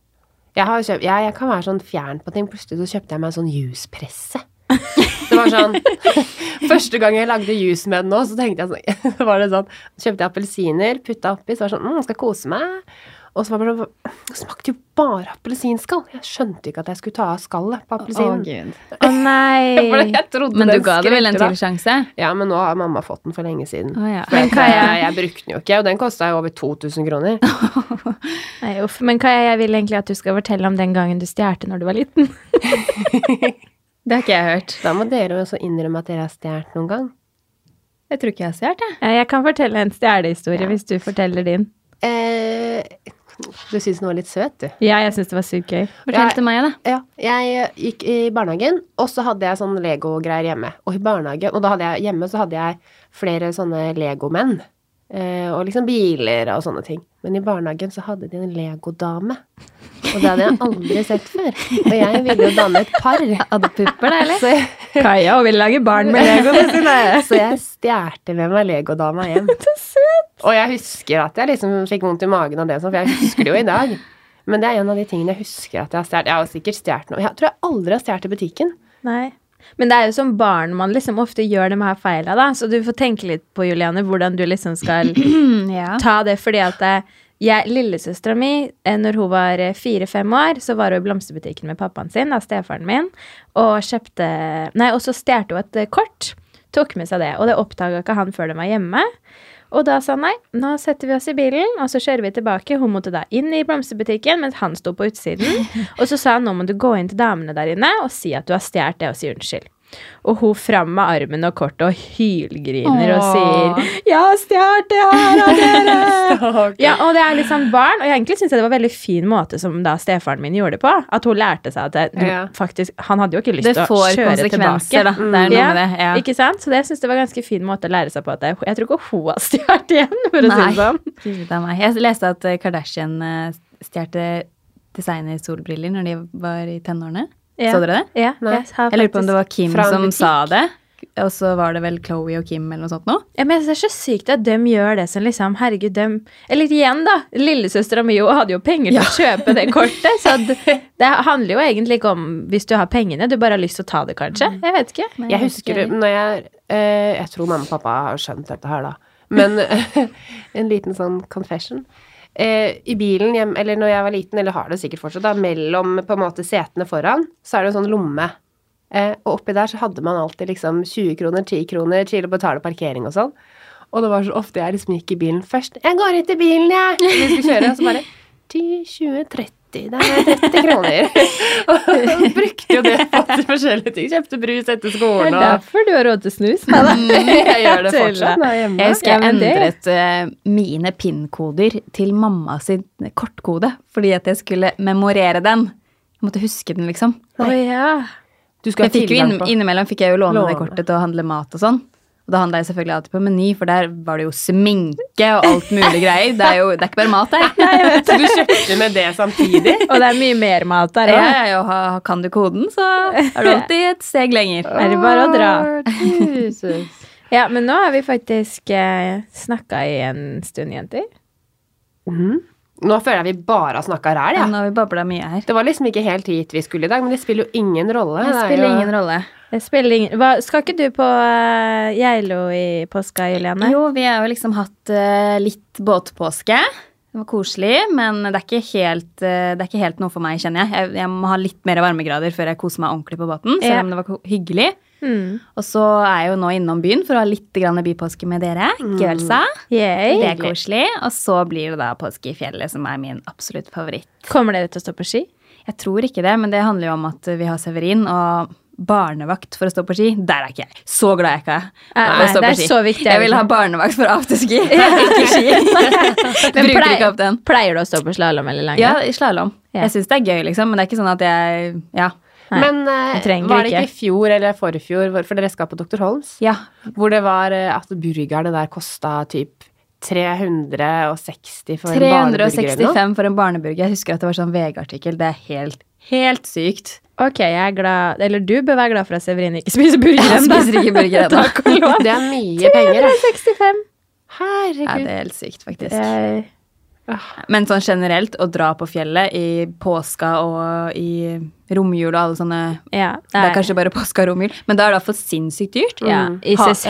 [SPEAKER 3] Jeg, har kjøpt, jeg, jeg kan være sånn fjern på ting. Plutselig så kjøpte jeg meg en sånn juspresse. Det var sånn Første gang jeg lagde juice med den nå, så tenkte jeg sånn så var det sånn, Så kjøpte jeg appelsiner, putta oppi, så var det sånn mm, Skal kose meg. Og så var det bare sånn Det smakte jo bare appelsinskall. Jeg skjønte ikke at jeg skulle ta av skallet på appelsinen.
[SPEAKER 4] Å nei!
[SPEAKER 3] jeg trodde
[SPEAKER 2] Men du
[SPEAKER 3] den
[SPEAKER 2] ga det vel en
[SPEAKER 3] skremte
[SPEAKER 2] til
[SPEAKER 3] meg.
[SPEAKER 2] sjanse?
[SPEAKER 3] Ja, men nå har mamma fått den for lenge siden.
[SPEAKER 2] Å ja.
[SPEAKER 3] For
[SPEAKER 4] Men
[SPEAKER 3] jeg-
[SPEAKER 4] Kaja-
[SPEAKER 3] jeg brukte den jo ikke, og den kosta jo over 2000 kroner.
[SPEAKER 4] nei uff. Men Kaja, jeg vil egentlig at du skal fortelle om den gangen du stjerte når du var liten.
[SPEAKER 2] Det har ikke jeg hørt.
[SPEAKER 3] Da må dere også innrømme at dere har stjålet noen gang.
[SPEAKER 2] Jeg tror ikke jeg har stjålet, jeg.
[SPEAKER 4] Eh, Jeg kan fortelle en stjernehistorie hvis du forteller din.
[SPEAKER 3] Eh, du syns den var litt søt, du.
[SPEAKER 4] Ja, jeg syns det var sykt gøy.
[SPEAKER 2] Fortell
[SPEAKER 3] Jeg-
[SPEAKER 2] til meg, da.
[SPEAKER 3] Ja, jeg gikk i barnehagen, og så hadde jeg sånn Lego-greier hjemme. Og i barnehagen, og da hadde jeg hjemme så hadde jeg flere sånne Lego-menn. Eh, og liksom biler og sånne ting. Men i barnehagen så hadde de en Lego-dame. Og det hadde jeg aldri sett før. Og jeg ville jo danne et par.
[SPEAKER 2] Hadde pupper, da, eller?
[SPEAKER 3] Så jeg,
[SPEAKER 4] Kaja og vil lage barn med legoene sine.
[SPEAKER 3] så jeg stjerte med meg Lego-dama hjem.
[SPEAKER 4] Så søt!
[SPEAKER 3] Og jeg husker at jeg liksom fikk vondt i magen av det, og sånn, for jeg husker det jo i dag. Men det er en av de tingene jeg husker at jeg har stjålet. Jeg har sikkert stjålet noe. Jeg tror jeg aldri har stjålet i butikken.
[SPEAKER 4] Nei. Men det er jo som barn man liksom ofte gjør de her feila, da. Så du får tenke litt på, Juliane, hvordan du liksom skal
[SPEAKER 2] Mm, ja.
[SPEAKER 4] ta det. Fordi at eh, jeg, lillesøstera mi, eh, når hun var fire-fem år, så var hun i blomsterbutikken med pappaen sin, da, stefaren min, og kjøpte Nei, og så stjal hun et eh, kort. Tok med seg det. Og det oppdaga ikke han før de var hjemme. Og da sa han nei, nå setter vi oss i bilen, og så kjører vi tilbake. Hun måtte da inn i blomsterbutikken, mens han sto på utsiden. Og så sa han nå må du gå inn til damene der inne og si at du har stjålet det, og si unnskyld. Og hun fram med armen og kortet og hylgriner og
[SPEAKER 2] Åh.
[SPEAKER 4] sier 'Jeg har stjålet det her av dere!' ja, og det er liksom barn. Og jeg egentlig syns det var en veldig fin måte som da stefaren min gjorde det på. At hun lærte seg at det, du,
[SPEAKER 3] Ja.
[SPEAKER 4] faktisk Han hadde jo ikke lyst
[SPEAKER 2] Det
[SPEAKER 4] til å
[SPEAKER 2] får
[SPEAKER 4] kjøre tilbake.
[SPEAKER 2] konsekvenser, da. Det er noe
[SPEAKER 4] Ja,
[SPEAKER 2] med det. Mm. Ja.
[SPEAKER 4] Ikke sant? Så det syns det var en ganske fin måte å lære seg på. At jeg, jeg tror ikke hun har stjålet igjen, for å si det sånn.
[SPEAKER 2] Gud av meg. Jeg leste at eh, Kardashian eh, stjerte designersolbriller når de var i tenårene.
[SPEAKER 4] Ja.
[SPEAKER 2] Så dere det?
[SPEAKER 4] Ja,
[SPEAKER 3] Nei.
[SPEAKER 4] jeg har
[SPEAKER 2] Jeg lurer på om
[SPEAKER 4] faktisk-
[SPEAKER 2] det var Kim
[SPEAKER 3] Fra en
[SPEAKER 2] som
[SPEAKER 3] butikk.
[SPEAKER 2] sa det. Og så var det vel Chloé og Kim eller noe sånt nå.
[SPEAKER 4] ja, men jeg synes Det er så sykt at de gjør det som liksom Herregud, dem Eller igjen, da. Lillesøstera mi hadde jo penger til å kjøpe det kortet. Så det, det handler jo egentlig ikke om hvis du har pengene, du bare har lyst til å ta det, kanskje. Jeg vet ikke.
[SPEAKER 2] Nei,
[SPEAKER 3] Mm. Jeg husker det
[SPEAKER 4] Mm.
[SPEAKER 3] når jeg eh, Jeg tror mamma og pappa har skjønt dette her, da. Men en liten sånn confession. Eh, I bilen hjem, eller når jeg var liten, eller har det sikkert fortsatt, da, mellom på en måte setene foran, så er det en sånn lomme. Eh, og oppi der så hadde man alltid liksom 20 kroner, 10 kroner til å betale parkering og sånn. Og det var så ofte jeg liksom gikk i bilen først. 'Jeg går ut i bilen, jeg!' Vi skulle kjøre, og så bare 10, 20, 30. Det er 30 kroner. og brukte jo det på til forskjellige ting. Kjøpte brus etter
[SPEAKER 4] Det
[SPEAKER 3] skolen
[SPEAKER 4] er
[SPEAKER 3] og
[SPEAKER 4] derfor du har råd til snus. Nei da.
[SPEAKER 3] Mm, Jeg gjør det fortsatt når jeg er hjemme.
[SPEAKER 2] Jeg husker jeg
[SPEAKER 4] Ja, men det-
[SPEAKER 2] endret eh, mine PIN-koder til mamma sin kortkode fordi at jeg skulle memorere den. Jeg måtte huske den, liksom.
[SPEAKER 4] Å ja.
[SPEAKER 3] Du
[SPEAKER 2] Jeg
[SPEAKER 3] skal ha
[SPEAKER 2] fikk jo
[SPEAKER 3] tilgang
[SPEAKER 2] inn,
[SPEAKER 3] på
[SPEAKER 2] innimellom fikk jeg jo låne, det
[SPEAKER 3] Låne.
[SPEAKER 2] kortet til å handle mat og sånn. Og da handla jeg selvfølgelig alltid på Meny, for der var det jo sminke og alt mulig greier. Det er jo det er ikke bare mat der.
[SPEAKER 3] Så du kjøpte med det samtidig?
[SPEAKER 4] Og det er mye mer mat der
[SPEAKER 2] Ja,
[SPEAKER 4] òg.
[SPEAKER 2] ja, ja, ha- kan du koden, så er du alltid et steg lenger.
[SPEAKER 4] Er det bare å dra?
[SPEAKER 3] Jesus.
[SPEAKER 4] Ja, men nå har vi faktisk eh, snakka i en stund, jenter.
[SPEAKER 3] Nå føler jeg vi bare har snakka ræl,
[SPEAKER 2] Ja,
[SPEAKER 3] jeg.
[SPEAKER 2] Nå har vi babla mye her.
[SPEAKER 3] Det var liksom ikke helt hit vi skulle i dag, men det spiller jo ingen rolle.
[SPEAKER 2] Det
[SPEAKER 3] er
[SPEAKER 2] spiller
[SPEAKER 3] jo-
[SPEAKER 2] ingen rolle.
[SPEAKER 4] Det spiller ingen Hva, Skal ikke du på eh, Geilo i påska, Juliane?
[SPEAKER 2] Jo, vi har jo liksom hatt eh, litt båtpåske. Det var koselig, men det er, ikke helt, eh, det er ikke helt noe for meg, kjenner jeg. jeg. Jeg må ha litt mer varmegrader før jeg koser meg ordentlig på båten, selv
[SPEAKER 4] Ja.
[SPEAKER 2] om det var ko- hyggelig.
[SPEAKER 4] Mm.
[SPEAKER 2] Og så er jeg jo nå innom byen for å ha litt grann bypåske med dere. Gølsa. Det
[SPEAKER 4] Mm. Yay.
[SPEAKER 2] er koselig. Og så blir det da påske i fjellet, som er min absolutt favoritt.
[SPEAKER 4] Kommer dere til å stå på ski?
[SPEAKER 2] Jeg tror ikke det, men det handler jo om at vi har Severin og barnevakt for å stå på ski. Der er ikke jeg. Så glad jeg ikke er.
[SPEAKER 4] Nei,
[SPEAKER 2] for å stå
[SPEAKER 4] det
[SPEAKER 2] på
[SPEAKER 4] er så viktig, er
[SPEAKER 2] Jeg
[SPEAKER 4] det
[SPEAKER 2] vil
[SPEAKER 4] ikke?
[SPEAKER 2] ha barnevakt for afterski, ikke ski.
[SPEAKER 4] Men
[SPEAKER 2] Bruker
[SPEAKER 4] pleier-
[SPEAKER 2] ikke opp den.
[SPEAKER 4] Pleier du å stå på slalåm eller langrenn?
[SPEAKER 2] Ja, slalåm.
[SPEAKER 4] Ja.
[SPEAKER 2] Jeg syns det er gøy, liksom, men det er ikke sånn at jeg Ja.
[SPEAKER 4] Nei,
[SPEAKER 3] Men eh,
[SPEAKER 4] du trenger
[SPEAKER 3] var det
[SPEAKER 4] ikke.
[SPEAKER 3] ikke i fjor eller forfjor, hvor- for dere skal på Dr. Holms,
[SPEAKER 2] ja.
[SPEAKER 3] hvor det var eh, at burgerne der kosta typ 360 for en barneburger eller noe?
[SPEAKER 2] 365 for en barneburger. Jeg husker at det var sånn VG-artikkel. Det er helt, helt sykt.
[SPEAKER 4] Ok, jeg er glad Eller du bør være glad for at Severin ikke spiser burger
[SPEAKER 2] Jeg
[SPEAKER 4] ennå.
[SPEAKER 2] spiser ikke burger ennå.
[SPEAKER 4] Takk og lov.
[SPEAKER 3] Det er mye penger, da.
[SPEAKER 4] 365.
[SPEAKER 2] Ja, det
[SPEAKER 3] Herregud.
[SPEAKER 2] er helt sykt, faktisk.
[SPEAKER 4] Jeg,
[SPEAKER 2] Men sånn generelt, å dra på fjellet i påska og i romjul og alle sånne
[SPEAKER 4] ja,
[SPEAKER 2] Det er
[SPEAKER 4] nei.
[SPEAKER 2] kanskje bare påska og romjul, men da er det for sinnssykt dyrt.
[SPEAKER 4] ja, Mm. I
[SPEAKER 2] Ha-
[SPEAKER 4] ses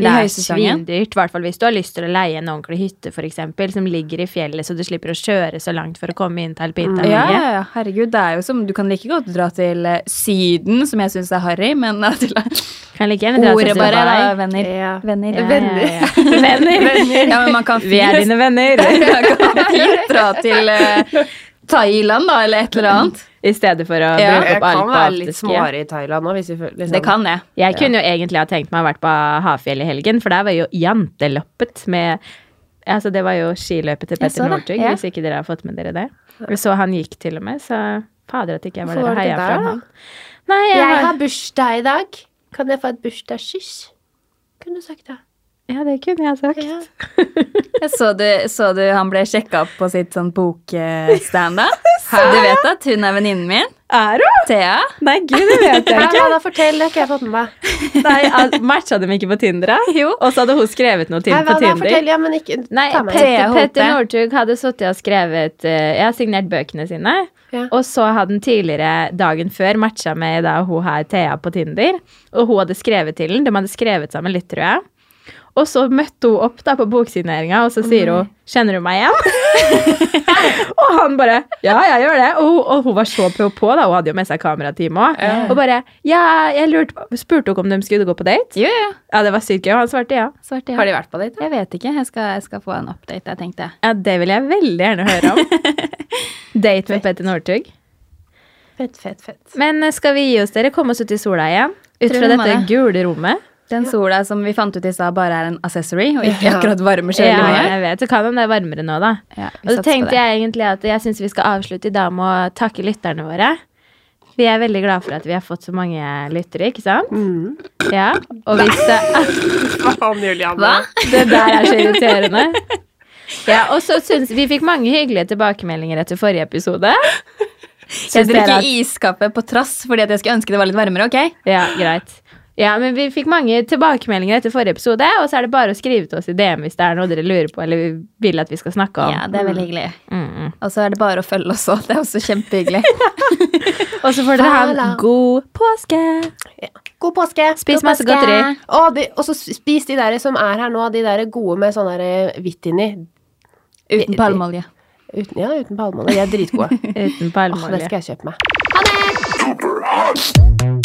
[SPEAKER 2] I
[SPEAKER 4] Det er
[SPEAKER 2] høysesongen.
[SPEAKER 4] svindyrt. I hvert fall hvis du har lyst til å leie en ordentlig hytte for eksempel, som ligger i fjellet, så du slipper å kjøre så langt for å komme inn til
[SPEAKER 2] Mm. Ja, ja,
[SPEAKER 4] alpinterrenget.
[SPEAKER 2] ja, herregud. Det er jo som, du kan like godt dra til eh, Syden, som jeg syns er harry, men eh, til
[SPEAKER 4] Kan like gjerne dra til
[SPEAKER 2] Ordet bare, da,
[SPEAKER 4] Dubai.
[SPEAKER 2] venner.
[SPEAKER 3] Ja.
[SPEAKER 2] Venner.
[SPEAKER 4] Ja,
[SPEAKER 2] Venner.
[SPEAKER 4] ja, ja. Venner.
[SPEAKER 2] Ja, men man kan
[SPEAKER 4] Vi er
[SPEAKER 2] fint
[SPEAKER 4] dine venner.
[SPEAKER 2] Man kan fint dra til eh, Thailand, da, eller et eller annet.
[SPEAKER 4] I stedet for å
[SPEAKER 2] Ja.
[SPEAKER 4] bruke
[SPEAKER 3] Jeg
[SPEAKER 4] opp
[SPEAKER 3] kan
[SPEAKER 4] alt på
[SPEAKER 3] være litt
[SPEAKER 4] afterski.
[SPEAKER 3] småere i Thailand nå, hvis vi føler liksom.
[SPEAKER 2] Det kan det.
[SPEAKER 4] Jeg kunne jo egentlig ha tenkt meg å vært på Hafjell i helgen, for der var jo janteloppet med Altså, det var jo skiløpet til
[SPEAKER 2] Jeg så
[SPEAKER 4] Petter
[SPEAKER 2] det,
[SPEAKER 4] Northug,
[SPEAKER 2] ja.
[SPEAKER 4] hvis ikke dere har fått med dere det. Jeg så han gikk til og med, så fader at ikke jeg var
[SPEAKER 3] Hvorfor
[SPEAKER 4] der
[SPEAKER 3] var
[SPEAKER 4] og
[SPEAKER 3] du
[SPEAKER 4] heia
[SPEAKER 3] ikke der,
[SPEAKER 4] fram
[SPEAKER 3] da?
[SPEAKER 4] han. Nei, jeg,
[SPEAKER 3] Jeg
[SPEAKER 4] har
[SPEAKER 3] har bursdag i dag. Kan jeg få et bursdagskyss? Kunne du sagt det.
[SPEAKER 4] Ja, det kunne jeg sagt.
[SPEAKER 3] Ja.
[SPEAKER 2] Jeg så du, så du han ble sjekka opp på sitt sånn bokstand, da? Du vet at hun er venninnen min?
[SPEAKER 4] Er du?
[SPEAKER 2] Thea?
[SPEAKER 4] Nei, gud, det vet jeg
[SPEAKER 3] Ja,
[SPEAKER 4] ikke.
[SPEAKER 3] da fortell, det har ikke jeg fått med meg.
[SPEAKER 4] Nei, al- Matcha dem ikke på Tinder, da?
[SPEAKER 2] Jo.
[SPEAKER 4] Og så hadde hun skrevet noe til
[SPEAKER 3] Nei,
[SPEAKER 4] på
[SPEAKER 3] hva da?
[SPEAKER 4] Tinder.
[SPEAKER 3] Fortell, ja, men ikke
[SPEAKER 4] Nei,
[SPEAKER 3] ta meg.
[SPEAKER 2] Thea
[SPEAKER 4] Petter,
[SPEAKER 2] Hope.
[SPEAKER 4] Petter Northug hadde sittet og skrevet eh, Jeg har signert bøkene sine.
[SPEAKER 3] Ja.
[SPEAKER 4] Og så hadde han tidligere dagen før matcha med da hun her Thea på Tinder. Og hun hadde skrevet til den. De hadde skrevet sammen litt, tror jeg. Og så møtte hun opp da på boksigneringa, og så sier hun 'Kjenner du meg igjen?' og han bare 'Ja, jeg gjør det'. Og, hun- og hun var så på, på da. Hun hadde jo med seg kamerateam òg. Og bare 'Ja, jeg lurte på Spurte hun om de skulle gå på date?
[SPEAKER 2] Jo, jo.
[SPEAKER 4] Ja, det var sykt gøy. Og han svarte ja.
[SPEAKER 2] Svarte ja.
[SPEAKER 3] Har de vært på date?
[SPEAKER 2] Jeg vet ikke. Jeg skal, jeg skal få en update, jeg tenkte.
[SPEAKER 4] Ja, det vil jeg veldig gjerne høre om. Date med Petter Northug.
[SPEAKER 3] Fett, fett, fett.
[SPEAKER 4] Men eh, skal vi gi oss dere? Komme oss ut i sola igjen? Ut
[SPEAKER 2] Tror
[SPEAKER 4] fra
[SPEAKER 2] vi må
[SPEAKER 4] dette
[SPEAKER 2] det.
[SPEAKER 4] gule rommet?
[SPEAKER 2] Den sola som vi fant ut i stad, bare er en accessory, og ikke
[SPEAKER 3] Ja.
[SPEAKER 2] akkurat varmer så
[SPEAKER 4] Ja,
[SPEAKER 2] veldig mye.
[SPEAKER 4] jeg vet. Du kan om det er varmere nå, da.
[SPEAKER 2] Ja, vi
[SPEAKER 4] Og så
[SPEAKER 2] satser på
[SPEAKER 4] tenkte
[SPEAKER 2] det.
[SPEAKER 4] jeg egentlig at jeg syns vi skal avslutte i dag med å takke lytterne våre. Vi er veldig glad for at vi har fått så mange lyttere, ikke sant? Ja, Og hvis det,
[SPEAKER 3] Mm. Faen, Julianne.
[SPEAKER 2] Hva?
[SPEAKER 4] det der er så irriterende. Ja, og så syns Vi fikk mange hyggelige tilbakemeldinger etter forrige episode.
[SPEAKER 2] Jeg
[SPEAKER 4] Syns dere at-
[SPEAKER 2] drikker iskaffe på trass fordi at jeg skulle ønske det var litt varmere, ok?
[SPEAKER 4] Ja, greit. Ja, men Vi fikk mange tilbakemeldinger etter forrige episode, og så er det bare å skrive til oss i DM hvis det er noe dere lurer på eller vil at vi skal snakke om.
[SPEAKER 2] Ja, det er veldig hyggelig.
[SPEAKER 4] Mm, mm.
[SPEAKER 2] Og så er det bare å følge oss òg. Det er også kjempehyggelig.
[SPEAKER 4] Og så får dere ha en
[SPEAKER 3] Voilà.
[SPEAKER 4] god påske!
[SPEAKER 3] Ja. God påske.
[SPEAKER 4] Spis
[SPEAKER 2] God
[SPEAKER 4] masse
[SPEAKER 2] påske.
[SPEAKER 4] godteri.
[SPEAKER 3] Og de- og så spis de der som er her nå, de der gode med sånn der eh, hvitt inni.
[SPEAKER 2] Uten palmeolje.
[SPEAKER 3] Uten, ja, uten palmeolje. De er dritgode.
[SPEAKER 4] Uten
[SPEAKER 3] Åh, det
[SPEAKER 4] palmeolje.
[SPEAKER 3] skal jeg kjøpe meg.
[SPEAKER 1] Super hot.